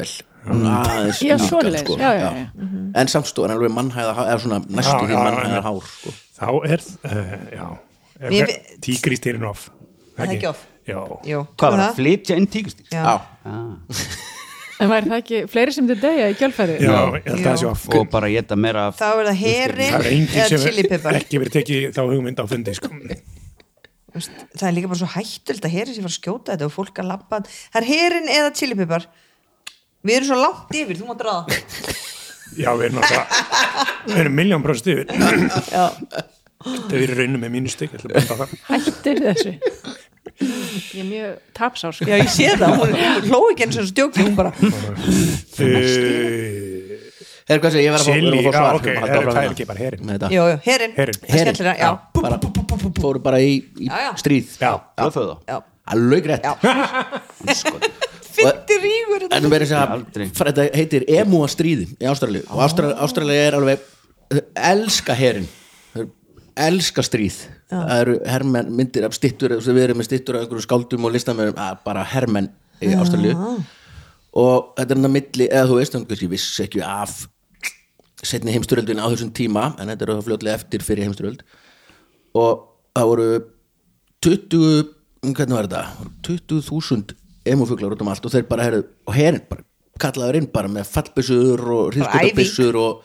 B: aðeins líkan,
D: Já, svoleiðis.
B: sko.
D: Já, já, já.
B: en samt stóð, hann er alveg mannhæða eða svona
E: Mhm. Já,
B: næstu því
E: já,
B: mannhæða
E: já.
B: hár sko.
E: Þá er, uh, já
F: Mér
E: er,
F: fi-
E: Tígristýrin of
F: Það er ekki of.
E: Já,
F: Jú,
C: hvað var það? flytja inn tíkustýr
F: Já.
B: já,
C: ah.
D: En væri það ekki fleiri sem þið degja í kjálfæri?
E: já, ég held að það sé of
C: og bara geta meira af
F: Þá er það
E: Það er
F: herin
E: enginn
F: eða
E: sem
F: chili pepper
E: ekki verið tekið þá hugmynd á fundi sko.
F: Þú veist, Það er líka bara svo hættult að herin sem var að skjóta þetta og fólk að labba Það er herin eða chili pepper Við erum svo langt yfir, þú má draða
E: Já, við erum náttúrulega Við erum miljón prost yfir Þau eru raunum með mínu stygg Ég
D: Hættir þessu? Ég er mjög tapsár sko.
F: Já, ég sé það, hún, hún hló ekki eins og stjóki Hún bara,
E: Eh,
B: Herru, hvað sé, ég verð að fá-
E: Chili,
B: verð að fá
E: já,
B: svar,
E: ok,
B: við erum að
E: herru,
B: halda
E: það er
B: áfram
E: ekki bara herin.
B: með þetta.
F: jú, jú, herin
E: Herin.
F: Það er skemmtilega, já.
B: Já, bara- fóru bara í, í
F: Já, já.
B: stríð
C: blóðföða
F: já
B: alveg rétt
F: Fyndi rígur hérna. þetta
B: en þú verður að
C: Aldrei.
B: segja þetta heitir emúa stríði í Ástralíu og Ástralíu,
F: Ah.
B: Ástralíu er alveg þau elska herin þau elska stríð það eru hermenn myndir af stittur við erum með stittur af einhverjum skáldum og listamöðum bara hermenn í Ástralíu
F: Ah.
B: og þetta er hann að milli eða þú veist, hann kannski vissi ekki af setni heimsturöldin á þessum tíma en þetta eru þá fljótlega eftir fyrir heimsturöld og það voru 20, hvernig var þetta 20.000 emufuglar út um allt og þeir bara herðu, og herin bara kallaður inn bara með fallbissur og hrýðskotabissur og,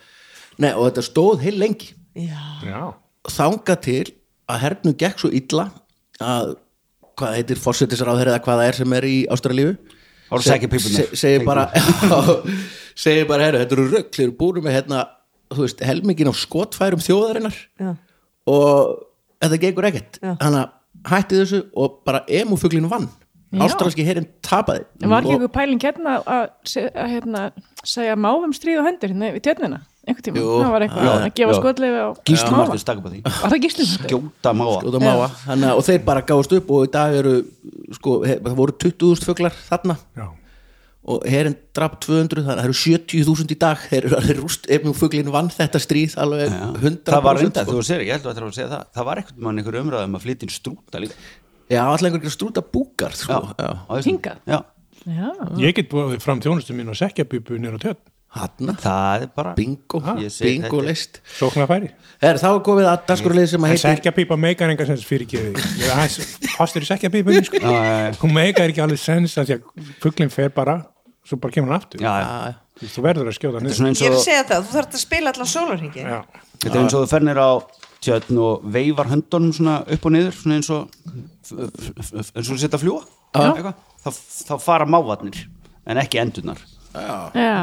B: nei, og þetta stóð heil lengi
F: Já,
E: Já,
B: þanga til að hernum gekk svo illa að hvað heitir fórsetisráður eða hvað það er sem er í Ástralíu
C: Ára
B: Se-
C: sækja pípunar.
B: se- segir bara segir bara, herru, þetta eru rögl þeir eru búinu með hérna, þú veist, helmingin á skotfærum þjóðarinnar
F: Já.
B: og þetta gengur ekkert
F: Já.
B: þannig að hætti þessu og bara emufuglin vann ástralski herin tapaði
D: En var ekki
B: Og-
D: einhver pæling hérna að, se- að hérna, segja máfum stríð á hendur hérna við tjörnina, einhvern tíma
B: Jú.
D: það var eitthvað
B: Já,
D: að gefa
C: já.
D: skotleifi á
C: gíslum
D: máfa.
C: aftur stakka bara því
D: Var það gíslum?
C: skjóta máa
B: út af máa Hanna, og þeir bara gáðust upp og í dag eru sko, he, það voru 20.000 fuglar þarna
E: já
B: og herinn draf 200 þannig að það eru 70.000 í dag þeir eru alveg rúst ef mjög fuglin vann þetta stríð alveg 100%
C: það var reynda,
B: sko.
C: þú sér, ég held að það var að segja það það var ekkert mann einhver umræð um að flytja inn strúta líka
B: já, allir einhverjum strúta búkar sko. já.
C: á Íslandi.
D: Hingað?
C: já,
D: Já,
E: Ég get búið fram þjónustu mín og sekjabíbu nýra tjöt,
B: Hanna,
C: það er bara
B: bingo,
C: Ha? Ég segi
B: bingo
C: þetta.
B: list
E: sóknar færi
B: er þá er komið að dagskorulið sem að
E: En
B: heitir
E: sekjabíba meikar enga sens fyrir ekki Ég er aðeins fastur í sekjabíbu sko. Hún meikar ekki alveg sens af því að fuglinn fer bara svo bara kemur hann aftur
C: já, já.
E: Þú verður að skjóta hann
C: Þetta er svona eins
F: ég er að
C: og,
F: segja það, þú þarf að spila allan sólarhingin
E: Já,
C: þetta er eins og þú fernir á tjötn og veifar höndunum svona upp og niður svona eins og f- f- f- eins og þú setja að fljúa Eitthvað. þá, þá fara mávarnir en ekki endurnar
D: já,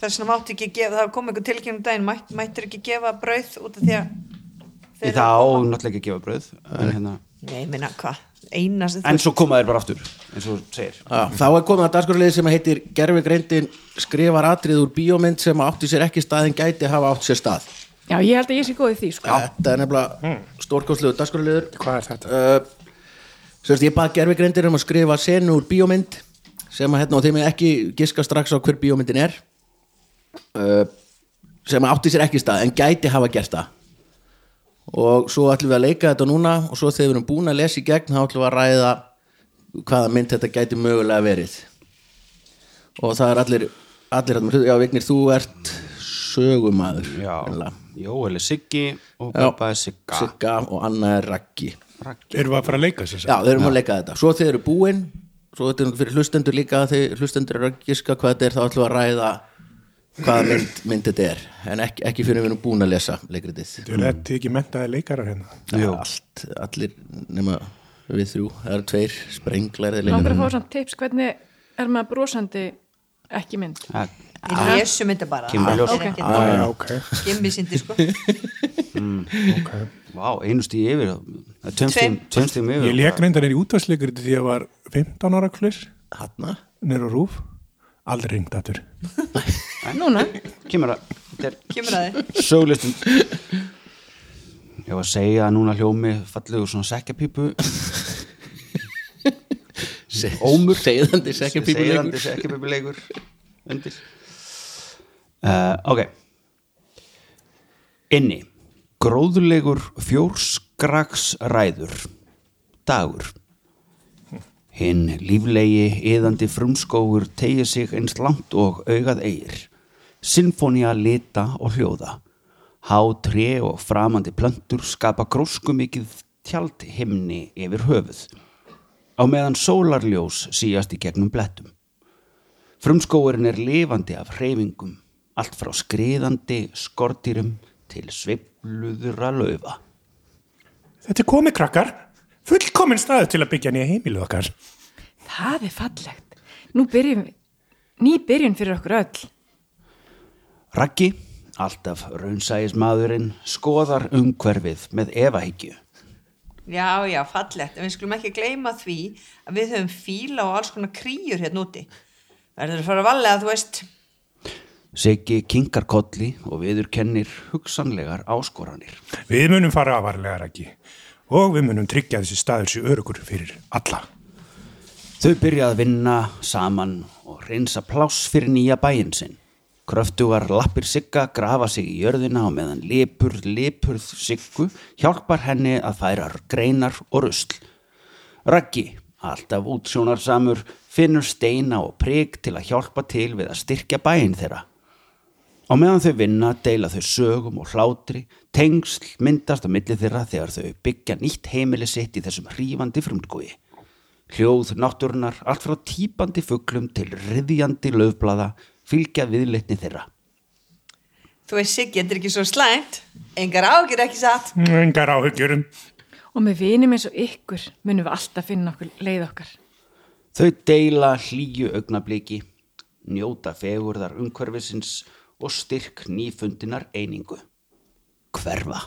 F: þess vegna máttu ekki gefa, það kom einhver tilkynning um daginn mætt, mættur ekki gefa brauð út af því að
C: Í það á náttúrulega ekki að gefa bröð en hérna,
F: nei, minna, hvað, eina sem
C: en svo koma þeir bara aftur eins og þú segir
B: Já, þá er komið að dagskurliði sem heitir Gerfi Greindin skrifar atrið úr bíómynd sem átti sér ekki stað en gæti hafa átt sér stað
D: Já, ég held að ég sé góð í því, sko.
B: Þetta er nefnilega mm. stórkostlegu dagskurliður
E: Hmm. Hvað er þetta?
B: uh, Sérst, ég bað Gerfi Greindin um að skrifa senu úr bíómynd sem að hérna og þeim er ekki giska strax á hver bíómyndin er uh, sem átti sér ekki stað en gæti hafa gert það og svo ætlum við að leika þetta núna og svo þegar við erum búin að lesa í gegn þá ætlum við að ræða hvaða mynd þetta gæti mögulega verið og það er allir, allir hérna, já Vignir, þú ert sögumadur
C: já,
B: greinilega.
C: Jóel er Siggi og
B: Já.
C: Bubba er Sigga
B: Sigga og Anna er Raggi
E: Erum við að fara að leika sér?
B: Já, þeir eru að leika þetta Svo þeir eru búin Svo þetta er fyrir hlustendur líka Þegar hlustendur eru að giska hvað þetta er Þá ætlum við að ræða hvaða mynd, mynd þetta er En ekki, ekki fyrir við erum búin að lesa leikritið
E: Eru þetta ekki mentaði leikarar hérna?
C: Jú.
B: Allt, allir nema við þrjú Það eru tveir sprenglar
D: Langar að fá samt tips, hvernig er maður brosandi ekki mynd?
C: Það-
F: við
C: Ah.
F: lesum þetta bara
C: Kemur í ljós.
F: Það er ekkert
E: Já,
F: mál.
E: já, ok.
F: Gimmi sindi sko
E: ok.
C: vá, einu stíð yfir það er tveim stíðum- tveim stíðum yfir
E: Ég leik reyndar er í útvarsleikurinn því ég var 15 ára klur,
B: Hanna
E: nýr og rúf, aldrei ringt aftur.
D: Núna,
C: kemur að þetta er
F: Kemur að þið
C: sögulistum ég var að segja að núna hljómi fallegu svona sekkjapípu Ómur.
B: Segðandi
C: segjandi
B: sekkjapípuleikur
C: sekkjapípuleikur undir uh, ok inni gróðulegur fjórskraks ræður dagur hinn líflegi eðandi frumskógur tegir sig eins langt og augað eigir sinfónia lita og hljóða há tré og framandi plöntur skapa gróskumikið tjald himni yfir höfuð á meðan sólarljós síjast í gegnum blettum. Frumskóurinn er lifandi af hreyfingum, allt frá skriðandi skortýrum til sveifluðra laufa.
E: Þetta er komið krakkar, fullkominn staður til að byggja nýja heimilu okkar.
D: það er fallegt. Nú byrjum við, ný byrjun fyrir okkur öll.
C: Raggi, alltaf raunsægismadurinn, skoðar umhverfið með efahyggju.
F: Já, já, fallegt, en við skulum ekki gleyma því að við höfum fíla og alls konar kríur hérna úti verður að fara að valega, þú veist
C: Siggi kinkar kolli og viður kennir hugsanlegar áskoranir.
E: Við munum fara afarlegar ekki og við munum tryggja þessi staður sér örugur fyrir alla.
C: Þau byrja að vinna saman og reynsa pláss fyrir nýja bæinn sinn. Kröftugar lappir Sigga grafa sig í jörðina og meðan lipur, lipurð Siggu hjálpar henni að færa greinar og rusl. Raggi, alltaf útsjónarsamur, finnur steina og prik til að hjálpa til við að styrkja bæinn þeirra. Á meðan þau vinna deila þau sögum og hlátri, tengsl myndast á milli þeirra þegar þau byggja nýtt heimili sitt í þessum hrífandi frumtgói. Hljóð náttúrunar, allt frá típandi fuglum til riðjandi löfblada, fylgja viðleitni þeirra.
F: Þú veist, Siggi, þetta er ekki svo slæmt engar ágjur ekki satt
E: Engar áhyggjur um.
D: Og með vinum eins og ykkur munum við alltaf finna okkur leið okkar.
C: Þau deila hlýju augnabliki, njóta fegurðar umhverfisins og styrk nýfundinar einingu. Hverfa.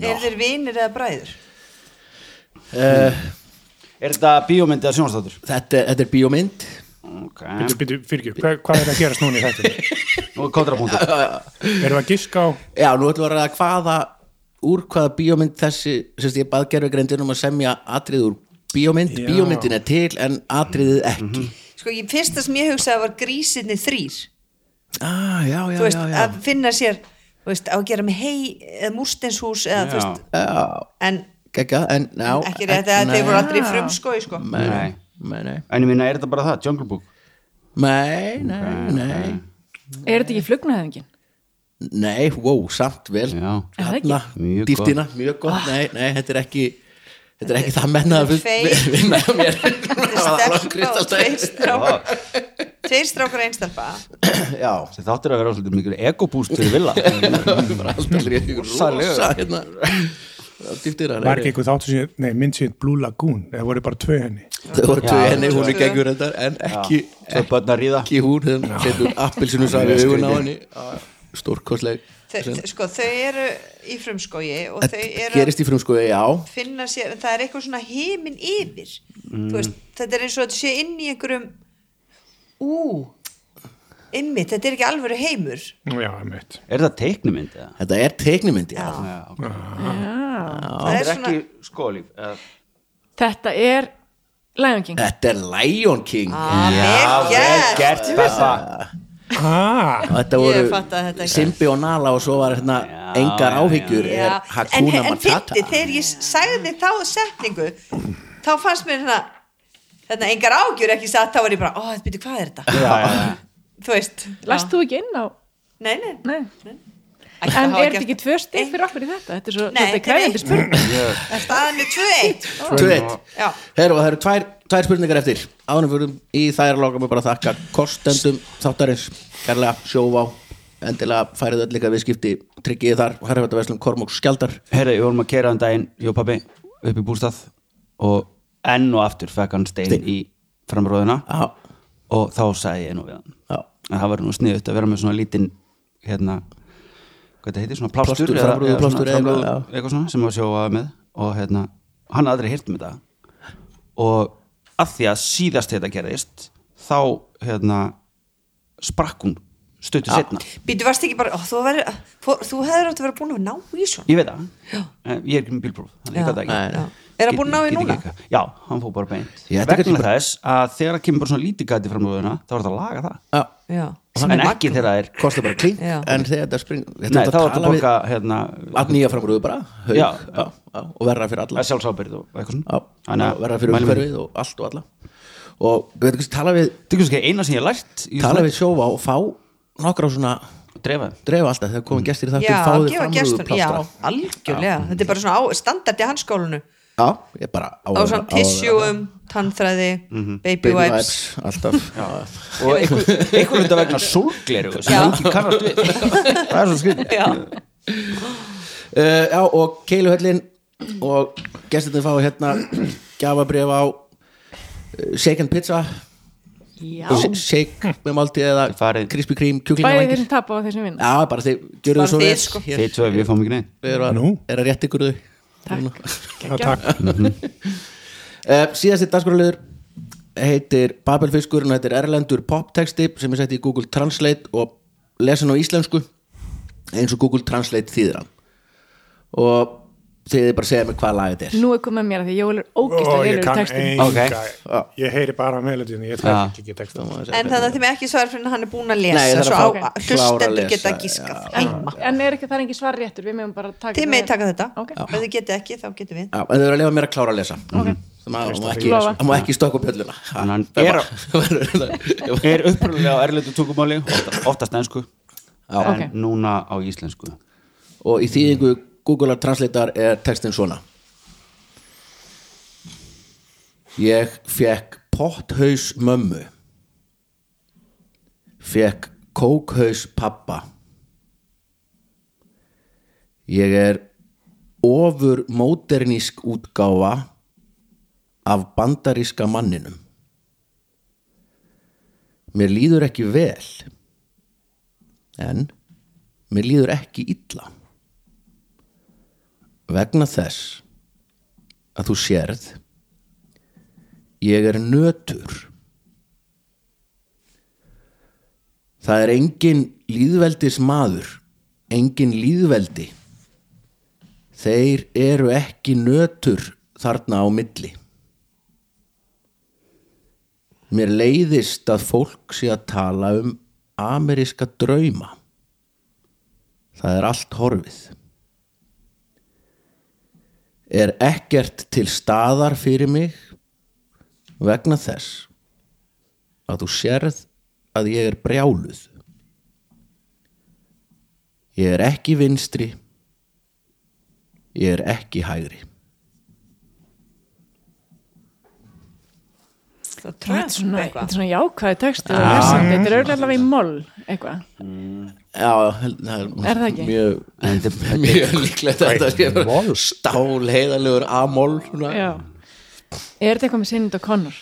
F: Er þeir vinir eða bræður?
B: uh,
C: Er þetta bíómyndið að sjónastáttur?
B: þetta, er- þetta er bíómynd
C: Ok.
E: Byrju, byrju, fyrir, hvað, hvað er að gerast núna í þetta?
C: Nú er kontrapunktur.
E: Erum við að giska á,
B: Já, nú ætlum við að ræða hvaða úr hvaða bíómynd þessi sérst ég bað Gerfi Greindin um að semja atrið úr bíómynd,
E: Já.
B: bíómyndin er til en atriðið ekki
F: Sko, ég fyrsta sem ég hugsaði var grísinni þrýr
B: ah, já, já,
F: Þú veist,
B: já, já.
F: að finna sér þú veist, á að gera með hei eða múrstenshús eða, þú veist,
B: já
F: en
B: Gekka, en já
F: ekki rétt að þeir voru aldrei frumskói, sko
B: Nei,
C: Nei.
B: nei, nei
C: En ég minna, er þetta bara það? Jungle Book?
B: Nei, nei, nei
D: Er þetta ekki flugnaðingin?
B: Nei, wow, samt vel
C: Já.
D: Er það ekki?
B: Þarna,
C: Mjög
B: dýptina, mjög gott Nei, nei, þetta er ekki Þetta er ekki það mennaða
F: Þetta er feil.
B: vinna hjá mér Það var alveg
F: Stelpa og tveir
B: kristaltæg
F: strákar Tveir strákar einstelpa
B: Já,
C: Þetta áttir að vera svolítið mikil egobúst fyrir villa.
B: það var allt allir í rosa hérna Dýptina,
E: var ekki einhver þáttu síðan, nei, mynd síðan Blue Lagoon, eða voru bara tvö henni.
B: Það voru tvö
C: Já,
B: henni, hún er
F: tvö.
B: gengur þetta En ekki,
C: Tvö börn að ríða.
B: ekki hún Þegar hún setur appilsinu sæði augun á henni Stórkostleg
F: Þau- sko, þau eru í frumskógi og þau
B: Þetta
F: eru að
B: gerist í frumskoði, já
F: finna sér, en það er eitthvað svona heimin yfir Þú
B: Mm.
F: veist, þetta er eins og þetta sé inn í einhverjum ú ymmið, þetta er ekki alvöru heimur
E: Já, einmitt.
C: Er það teiknumynd eða?
B: Þetta er teiknumynd, já,
C: Já, ok.
D: Já.
F: það
C: Það
F: er
C: er
F: svona,
C: ekki skólíf eða-
D: Þetta er Lion King
B: Þetta er Lion King
F: Ah, vel gert.
C: Beppa
E: Ah,
B: Og Þetta
F: Ég fattaði þetta
B: voru
F: ekki.
B: Simbi og Nala og svo var hérna
C: Já,
B: engar
C: já,
B: áhyggjur
F: já,
B: er
F: en,
B: Hakuna
F: en
B: Matata
F: fyndi, þegar ég sagði þá setningu þá fannst mér hérna hérna engar ágjur ekki satt, þá var ég bara, ó, þetta byrju, hvað er þetta?
C: Já, já, já.
F: Þú veist,
D: Last þú ekki inn á
F: nei, nei,
D: Nei.
F: Ætti að
D: En
F: hafa
D: er þetta
F: gert-
D: ekki tvö stig fyrir okkur í þetta? Þetta er svo þetta
F: Nei,
D: er
F: þetta er
D: krefjandi
F: eitt.
D: spurning
F: staðan er 2-1
B: Tveit
F: Já.
B: Herru, og það eru tvær, tvær spurningar eftir Ánum fyrir í þær lókum við bara að þakka kostendum þáttarins Kærlega sjóvá Endilega færið öll líka viðskipti Tryggiði þar, Harfæta Veslum, Kormóks, Skjaldar
C: Herra, við vorum að kera um daginn Ég og pappi upp í bústað og enn og aftur fekk hann stein
B: Stein.
C: í framröðuna
B: Já,
C: og þá sagði ég nú við hann
B: já
C: að það var nú sniðut að vera með svona lítinn hérna, hvað þetta heitir, svona plástur,
B: Plástur, framrúðu plástur
C: svona,
B: eða
C: framrúðu,
B: eitthvað, já.
C: eitthvað svona sem að sjóa með og hérna, hann hafði aldrei hýrt um þetta og að því að síðast þetta gerðist þá hérna sprakk hún stöttu ja. setna
F: Býtu, varst ekki bara, ó, þú, veri, fór, þú hefur átt að vera búin að ná í svona
C: ég veit það, En ég er ekki með bílpróf þannig
F: Já.
C: ég gæti
B: Nei,
C: ekki
B: nei.
F: Er hann búinn að ná í
C: Get- get
F: núna?
C: ekki eitthvað. já, hann fór bara beint
B: Ég, þetta
C: vegna
B: kannski bara-
C: þess að þegar það kemur bara svona lítið gæti framrúðuna þá er þetta að laga það
B: Já,
F: Já,
C: en ekki þegar það er
B: kostar bara klink
F: Já.
B: En þegar þetta spring
C: Nei,
B: Þetta er
C: þá
B: að
C: er þetta
B: tala við
C: borga hérna,
B: Allt nýja framrúðu bara haug,
C: Já.
B: já, já, Og verra fyrir alla
C: að sjálfsábyrð og eitthvað
B: Já,
C: svona
B: og verða fyrir umhverfið og allt og alla og við veitum hvað sem tala við
C: Tykkust ekki eina sem ég lært í
B: tala við sjófa og fá nokkra svona
C: svona- dreifa þeim.
B: dreifa alltaf þegar komum gestir í
F: Já,
B: þáttum
F: að
B: fáðu
F: gefa
B: framrúðu
F: gestur Já,
B: plástra
F: algjörlega, þetta er bara svona á, standardi hans skólanu á
B: já, ég bara á,
F: svona tissjúum, tannþræði baby
B: Mhm. baby
F: wipes
B: wipes, alltaf já.
C: og einhver einhver hluta vegna sorgleru sem
F: Já.
C: ekki kannast við það er svo skrið
F: Já,
B: Uh, já, og keiluhöllin og gestirnir fá hérna gjafabrif á uh, shake and pizza
D: Já.
B: shake með máltíð eða
C: Farið.
B: crispy cream
D: Bæði þeir
B: kjúklingavængir
D: sem tapa og þeir sem vinna
B: já, bara þið, gjörðu
F: Bara
B: svo
F: þið,
B: vel
F: sko.
B: Hér,
C: þeir tvö við fáum ekki neinn
B: við erum að,
E: Nú.
B: er að rétt ykkur þau
D: Takk,
E: það
D: Geggjað.
E: takk.
B: Uh, síðasti dagskrálaugur heitir Babelfiskur og þetta er erlendur poptexti sem er sett í Google Translate og lesin á íslensku eins og Google Translate þýðir hann og þið bara segja mig hvað lag þetta er
D: Nú er komið að mér að því Jól er ógist
E: Ó,
D: að
E: ég
D: velur
E: kann
D: textin
E: enga
B: Ok.
E: Ég heyri bara melodínu, ég þarf ekki texta
B: Má ég segja
F: en
B: hvernig
F: þannig að þeim er ekki svar fyrir hann er búin að lesa
B: Nei, ég þarf að
F: svo
B: fá-
F: á,
B: Ok. klára
F: að
B: að
F: hlustendur
B: lesa,
F: geta gískað
B: já.
F: heima
D: En er ekki það er engin svar réttur Við meðum bara taka
F: Þið meði taka þetta,
D: Ok. Já.
F: ef þið getið ekki þá getum við
B: Já, en þau verður að lefa mér að klára að lesa okay. það má ekki,
D: Lofa.
B: það má ekki stokka upp hölluna
C: En hann
B: Það
C: er-
B: var-
C: er upprunnilega á erlendu tungumáli oftast, oftast ennsku en
D: Ok.
C: núna á íslensku
B: og í þýðingu Google Translator er textin svona Ég fekk potthaus mömmu fekk kókhaus pappa Ég er ofur módernísk útgáfa af bandaríska manninum Mér líður ekki vel en mér líður ekki illa vegna þess að þú sérð ég er nötur það er engin líðveldis maður engin líðveldi þeir eru ekki nötur þarna á milli mér leiðist að fólk sé að tala um ameríska drauma Það er allt horfið. Er ekkert til staðar fyrir mig vegna þess að þú sérð að ég er brjáluð. Ég er ekki vinstri. Ég er ekki hægri.
F: Svo
D: Þetta er svona,
F: eitthvað.
D: þetta er svona jákvæði textur og lesandi, Þetta er auðvitað allavega í moll eitthvað.
B: Já, held- það
D: Er það ekki?
B: Mjög,
C: En þetta-
B: mjög líklegt að þetta sé
E: Mol.
B: bara stál heiðalegur amol.
D: Já. Er þetta eitthvað með sinnind og konur?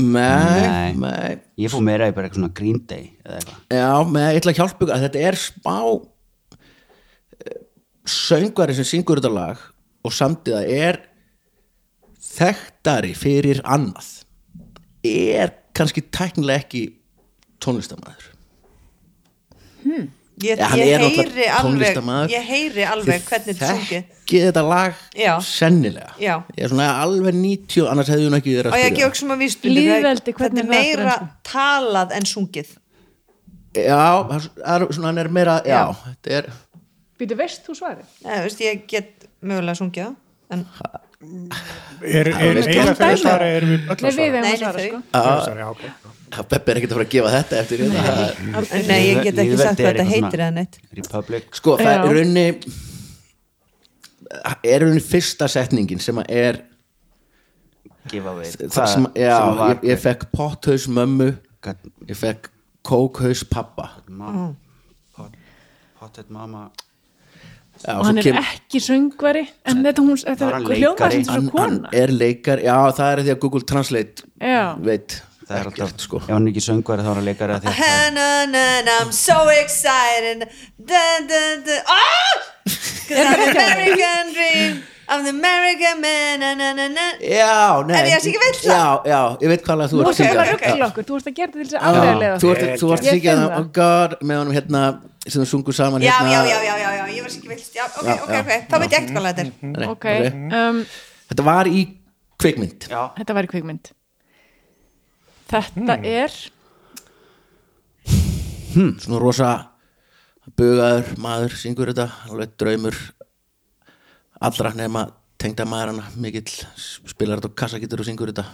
B: Nei,
C: Nei.
B: nei.
C: ég fór meira í bara eitthvað svona Green Day eða eitthvað
B: Já, með, ég ætla að hjálpa ykkur að þetta er smá söngvari sem syngur þetta lag og samtíða er þekktari fyrir annað er kannski tæknilega ekki tónlistamæður
F: Ég,
B: Ja, hann
F: ég,
B: er náttúrulega
F: heyri alveg,
B: tónlistamaður.
F: ég heyri alveg hvernig þetta sungi
B: Þekkið þetta lag
F: Já.
B: sennilega
F: Já.
B: Ég er svona alveg 90 annars hefði hún ekki verið
F: og
B: að
F: ég ekki
B: spyrja
F: auksum að vísbundu
D: Lýðveldi,
F: þetta
D: hvernig er
F: er
D: það aftur
F: meira
D: ensku?
F: talað en sungið
B: Já, það er, svona hann er meira Já, þetta er
D: Býtu, veist þú svarið?
F: Nei, þú veist, ég get mögulega sungið það, en
E: er, er
B: veist,
E: eiginlega
B: gott
E: fyrir
D: dæmi.
E: að svara erum við öll
D: Nei, við hefum
E: að svara
F: Nei,
D: að
F: nei,
D: svara,
F: þau.
D: sko.
E: Já, sorry, já, ok.
B: Beppi er ekkert að fara að gefa þetta eftir hérna. Það er-
F: En Nei, ég get ekki sagt hvað þetta heitir eða neitt
C: Republic
B: Sko, það
D: Já.
B: er raunni er raunni fyrsta setningin sem að er
C: giveaway
B: það sem, já, ég, ég fekk potthaus mömmu
C: fekk
B: ég fekk kókhaus pappa
C: Pottet mamma
B: já,
D: Og
B: svo
D: hann er
B: kem-
D: ekki söngvari en þetta hún, þetta
C: var
D: er
C: hann
D: hljóma
C: leikari.
D: sem þessu
B: hann
D: kona
B: er leikar, já það er því að Google Translate
D: Já.
B: veit
C: Það er alltaf,
B: ekkert sko
C: ef hann er ekki söngvari þá er hann leikari af því að það-
F: And I'm so excited dun, dun, dun. Oh! 'Cause I'm the American dream I'm the American man na, na, na, na.
B: já, nei
F: Er ég að syngja villa?
B: já, já, ég veit hvað lag þú
D: Þú
B: ert að
D: ert eitthvað
B: syngja
F: ok.
D: rugg til okkur, þú ert að gera þetta til þess að
B: Já,
D: aflega
B: þú ert- þú ert að
D: Ég
B: syngja
D: finn
B: það,
D: það.
B: oh god með honum hérna, sem þú sungu saman
F: Já,
B: hérna
F: já, já, já, já, já, ég var sikið villst Já, ok,
B: Já,
F: ok,
B: já.
F: ok, þá veit ég ekkert hvað þetta er
B: Nei,
D: Ok,
B: ok.
D: um,
B: þetta var í kvikmynd
C: Já,
D: þetta var í kvikmynd Þetta
B: Hmm.
D: er
B: svona rosa bugaður maður syngur þetta, alveg draumur allra nema tengda maður hana mikill spilar þetta á kassakittur og syngur þetta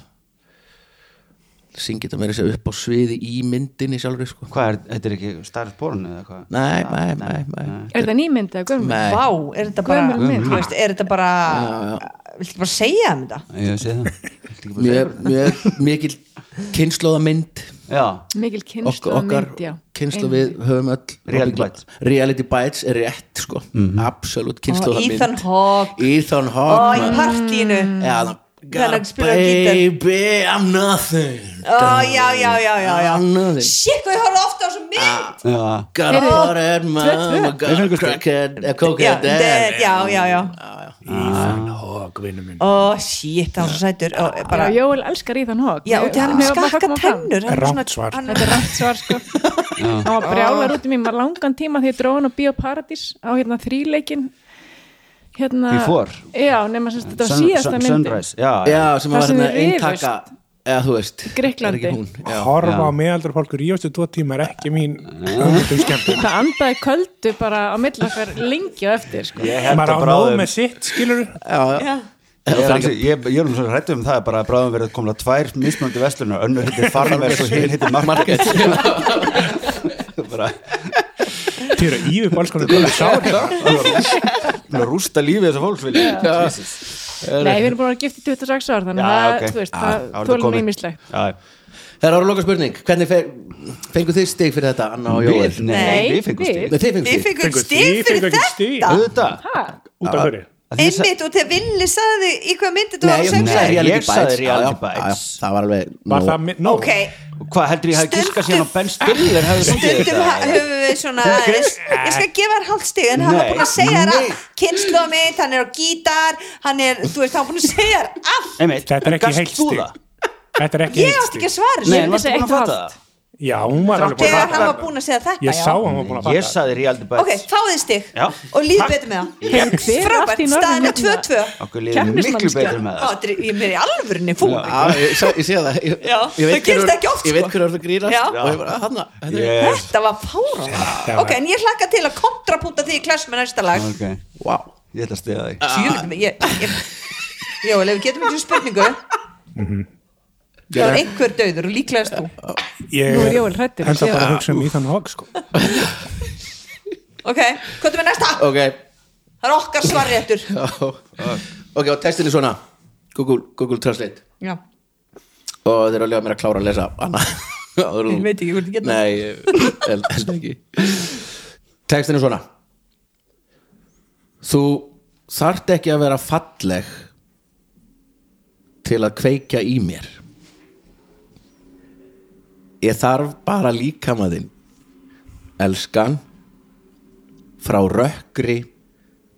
B: syngir þetta meira sér upp á sviði í myndinni sjálfur sko.
C: hvað er, þetta er ekki starf borun eða hvað
B: nei, nei, nei, nei.
D: Er þetta nýmynd eða gömul?
B: nei.
F: Vá, er þetta bara
D: Gömul mynd.
F: Þú veist, Er þetta bara Viltu ekki bara segja um þetta?
C: Ég hef séð það Ég vildi ekki bara segja
B: Mjög, mjög, mikil kynnslóða mynd
C: það. Já,
D: Mikil
B: ok,
D: kynnslóð
B: okkar
D: mynd, já
B: kynnslóð við höfum öll
C: Reality Bites. Mhm.
B: reality bites er rétt sko. absolutt kynnslóða mynd
F: Ethan Hawke
B: Ethan
F: Ó,
B: Hawk
F: í partíinu
B: Já, það
F: Hvenær
B: God,
F: spilar hann
B: Baby, I'm nothing
F: Ó, já, já, já, já, já
B: I'm nothing
F: Shit, hvað ég horfði ofta á svo mynd
B: Ah,
C: já,
B: Got a
D: Heyrðu,
B: hard mama,
D: tvö.
B: got a crackhead A
F: Já,
B: cokehead
F: dead,
B: dad
F: já, já, já
B: Ah.
E: Ethan Hawke, vinnu minn
F: Ó, shit, það var svo sætur Ó, bara,
D: Já, Jóel elskar Íðan Hók
F: Já, og það er hann með skakka tennur hann er
E: Rangt
F: svona-
E: svar.
F: hann-
D: Þetta er rætt svar sko Hann var brjálar út í mér, maður langan tíma því ég dróði hann á Bíóparadís á hérna þríleikin hérna
C: Before.
D: Já, nema sem sagt, þetta var
C: Sun-
D: síðasta
C: sun-
D: myndin
C: Sunrise, já, já,
B: Já, sem
D: Það
B: var
D: sem
B: hérna
D: þið rifust.
B: eintaka Já, þú veist er
D: Grikklandi.
B: ekki hún. Já.
E: horfa á meðaldra fólkur í ástu tvo tíma er ekki mín hugmyndum skemmtum
D: Það andaði köldu bara á milli okkar lengi á eftir sko
C: Ég held
E: maður á
C: að
E: nóg
C: bráðum
E: með sitt skilur
C: Ég er, ansi, ég, ég er um svo hrættu um það bara að bráðum verið komla tvær mismöndi vestlunar önnur hittir farmers og hinn hittir market bara
E: til að ífi upp alls konar góðu sár
C: Búin að rústa lífið þessar fólks vilja Jesus.
D: Nei, við erum búin að vera gift í 26 ár þannig
C: Já,
D: að
C: ok.
D: þú veist,
C: Já, þá
D: það
C: er þetta
D: þólum
C: komið.
D: við mislegt
C: Já,
B: Það er ára loka spurning Hvernig fe- fenguð þið stig fyrir þetta, Anna og Jóel?
C: Við, nei,
F: Nei,
C: við fengum
D: við.
C: stig
B: Nei, þið fenguð
F: Við
B: stig
F: fengum
E: Fengu
F: stig
E: stig,
F: fyrir
E: fengu ekki stig.
F: þetta
C: Auðvitað
E: út af hverju
C: Að því ég sa-
F: Einmitt og þegar Villi saði í hvað myndi þú
B: Nei,
F: var
B: ég-
F: að
B: hún
F: segja
B: sagði
C: Nei,
B: reality
C: ég sagði
B: bites. Já,
C: reality
B: já, já,
C: bites.
B: Það var alveg
E: var
B: nóg.
E: það minn, no
F: Ok,
C: Hvað heldur ég hafi giskað síðan á Ben Stiller hefði sungið
F: stundum ha-
C: þetta?
F: höfum við svona aðeins Ég skal gefa þér hálft stig en hann var
C: Nei.
F: búin að segja þér
C: Nei.
F: allt Kynnslóð mitt, hann er á gítar Hann er, þú veist, hann var búin að segja þér allt
C: Einmitt,
E: Þetta er ekki
C: gast
E: heilt
C: þú
E: stig.
C: það?
E: þetta er ekki
F: Ég
E: heitt
F: átti
E: stig
F: ekki að svara
C: Nei,
F: þessu
C: en varstu búin að
D: segja eitt og
C: fatta
D: hálft.
C: það?
E: já, hún var alveg búin
F: Þegar
E: að
F: hann var
E: fatta
F: búin að segja þetta,
E: ég sá
F: já
E: hann var búin að fatta
C: Ég saði reality bites
F: Ok, fáðið stig
C: Já.
F: og líð betur með það
D: Heyrðu, hver er allt
F: Frábært,
D: í norðurlöndum
F: staðan er
D: hérna?
F: 2-2
C: Okkur liðum miklu
D: Keppnismanneskja.
C: betur með
F: Á,
C: það
F: þetta er- Ég er mér í alvörunni fúl
B: Já, ég, sé- ég sé það Ég,
F: Já,
B: ég
F: það gerist
B: hverju-
F: ekki oft,
B: Ég veit
F: sko.
B: hverju orðu grínast
F: Já.
B: Og ég bara, hann Þetta er,
C: Yes,
F: Þetta var fáránlega
E: var-
F: Ok, en ég hlakka til að kontrapúta því í klass með næsta lag
C: ok
B: wow
C: Ég ætla að stiga þig
F: Sjöfum, ég, ég Jó, ef við getum ekki spurningu Það er einhver döður og líklegast þú
E: ég
D: Nú er Jóel hræddur.
E: held að bara að hugsa um Ethan Hawke sko.
F: Ok, hvað er með næsta?
B: Ok,
F: Það er okkar svarréttur
B: Já. ok, og textin er svona Google, Google Translate
F: Já,
B: og þeir eru að lega mér að klára að lesa Anna Ég
F: Ég veit ekki hvort ég get það.
B: Nei, ég held held ekki Textin er svona Þú þarft ekki að vera falleg til að kveikja í mér Ég þarf bara líkama þinn Elskan frá rökkri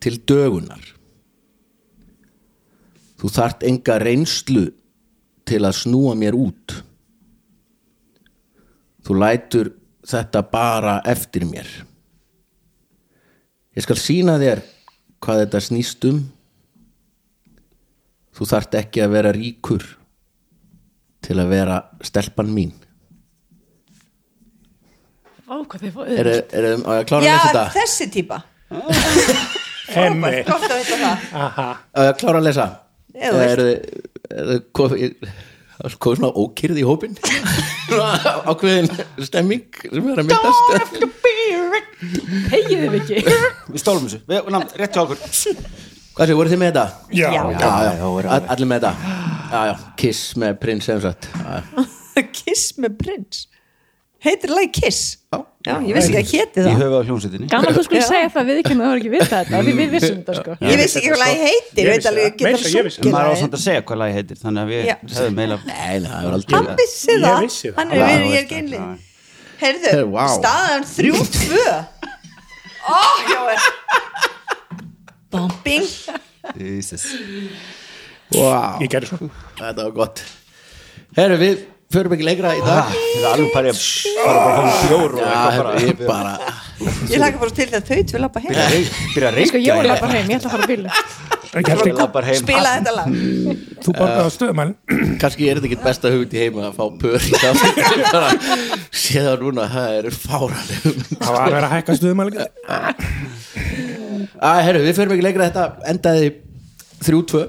B: til dögunar þú þart enga reynslu til að snúa mér út þú lætur þetta bara eftir mér ég skal sína þér hvað þetta snýst um þú þart ekki að vera ríkur til að vera stelpan mín
D: Ó, hvað þið fóðu
B: er, er, er á ég að klára
F: já,
B: að lesa þetta?
F: þessi típa
E: Hemmi.
F: gott að vita það
B: Á ég að klára að lesa?
F: Ef þú
B: er, er, er komið svona ókyrð í hópin Svona ákveðin stemming sem er að myndast
D: Hegið þið ekki
C: Við stólum þessu, við, ná, rétt hjá okkur
B: hvað sé, voru þið með þetta?
E: Já,
F: Já.
B: já, já, all- allir með þetta já, já, kiss með prins sem sagt Já, já.
F: Kiss með prins heitir lagi Kiss já, ég vissi ekki að héti
C: Í
F: það
C: höfu á hljómsveitinni
D: Gaman að þú skulle
F: Já.
D: segja það við ekki að það voru ekki vita þetta af Því við vissum þetta sko
F: ég vissi ekki hvað lagi heitir
E: Ég
F: veit
E: vissi
F: alveg
E: það.
F: geta
E: Meira að segja, ég vissi
C: En maður á
F: sungið
C: samt að segja hvað lagi heitir Þannig að við
F: Já.
C: hefðum eiginlega
B: nei, nei, það er aldrei
F: hann vissi
E: Ég
F: það
E: vissi það.
F: hann
C: Já,
F: er verið
C: þú
F: ég
C: veist
F: er genlið
C: það,
F: heyrðu,
B: Hey, wow.
F: staðan 3-2 ó, Jóel bombing
C: Jesus.
B: wow,
E: ég gerði svo
B: þetta var gott herru, við förum ekki lengra í dag
C: Það er alveg bara bara bara fórum bjór og
B: já,
C: eitthvað
B: herru, ég
C: Ah. bara
B: bara
F: ég laka bara til það þau tvö lappa heim
C: Byrja að reik- Byrja að
D: Sko, ég voru
C: reykja
D: bara heim, ég ætla að fara á bílu
E: Ég held ekki-
C: Lappar heim
F: spila þetta lag
E: Þú borgaði á stöðumælin
B: kannski er þetta ekki besta hugmynd í heima að fá pör í það bara sé það núna, það eru fáralegum
E: Það var að vera að hækka stöðumælin
B: Æ, herru, við förum ekki lengra þetta endaði 3-2 há,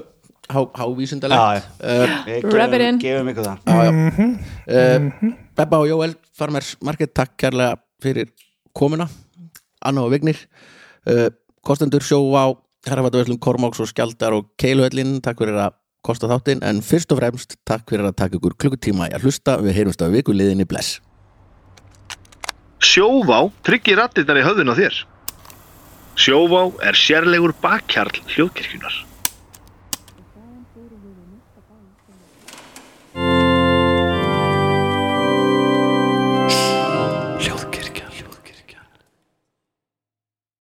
B: Eh, hávísundalegt
D: Rub it in.
C: Gefum ykkur það
B: uh, Bebba og Jóel Farmers Market, takk kærlega fyrir komuna, Anna og Vignir uh, kostendur sjóvá Herrafatavöslum Kormáks og Skjaldar og Keiluhöllin, takk fyrir að kosta þáttinn en fyrst og fremst takk fyrir að taka ykkur klukkutíma í að hlusta, við heyrumst að vikuliðinni bless
A: Sjóvá tryggir rattirnar í höfðun á þér. Sjóvá er sérlegur bakkjarl hljóðkirkjunar.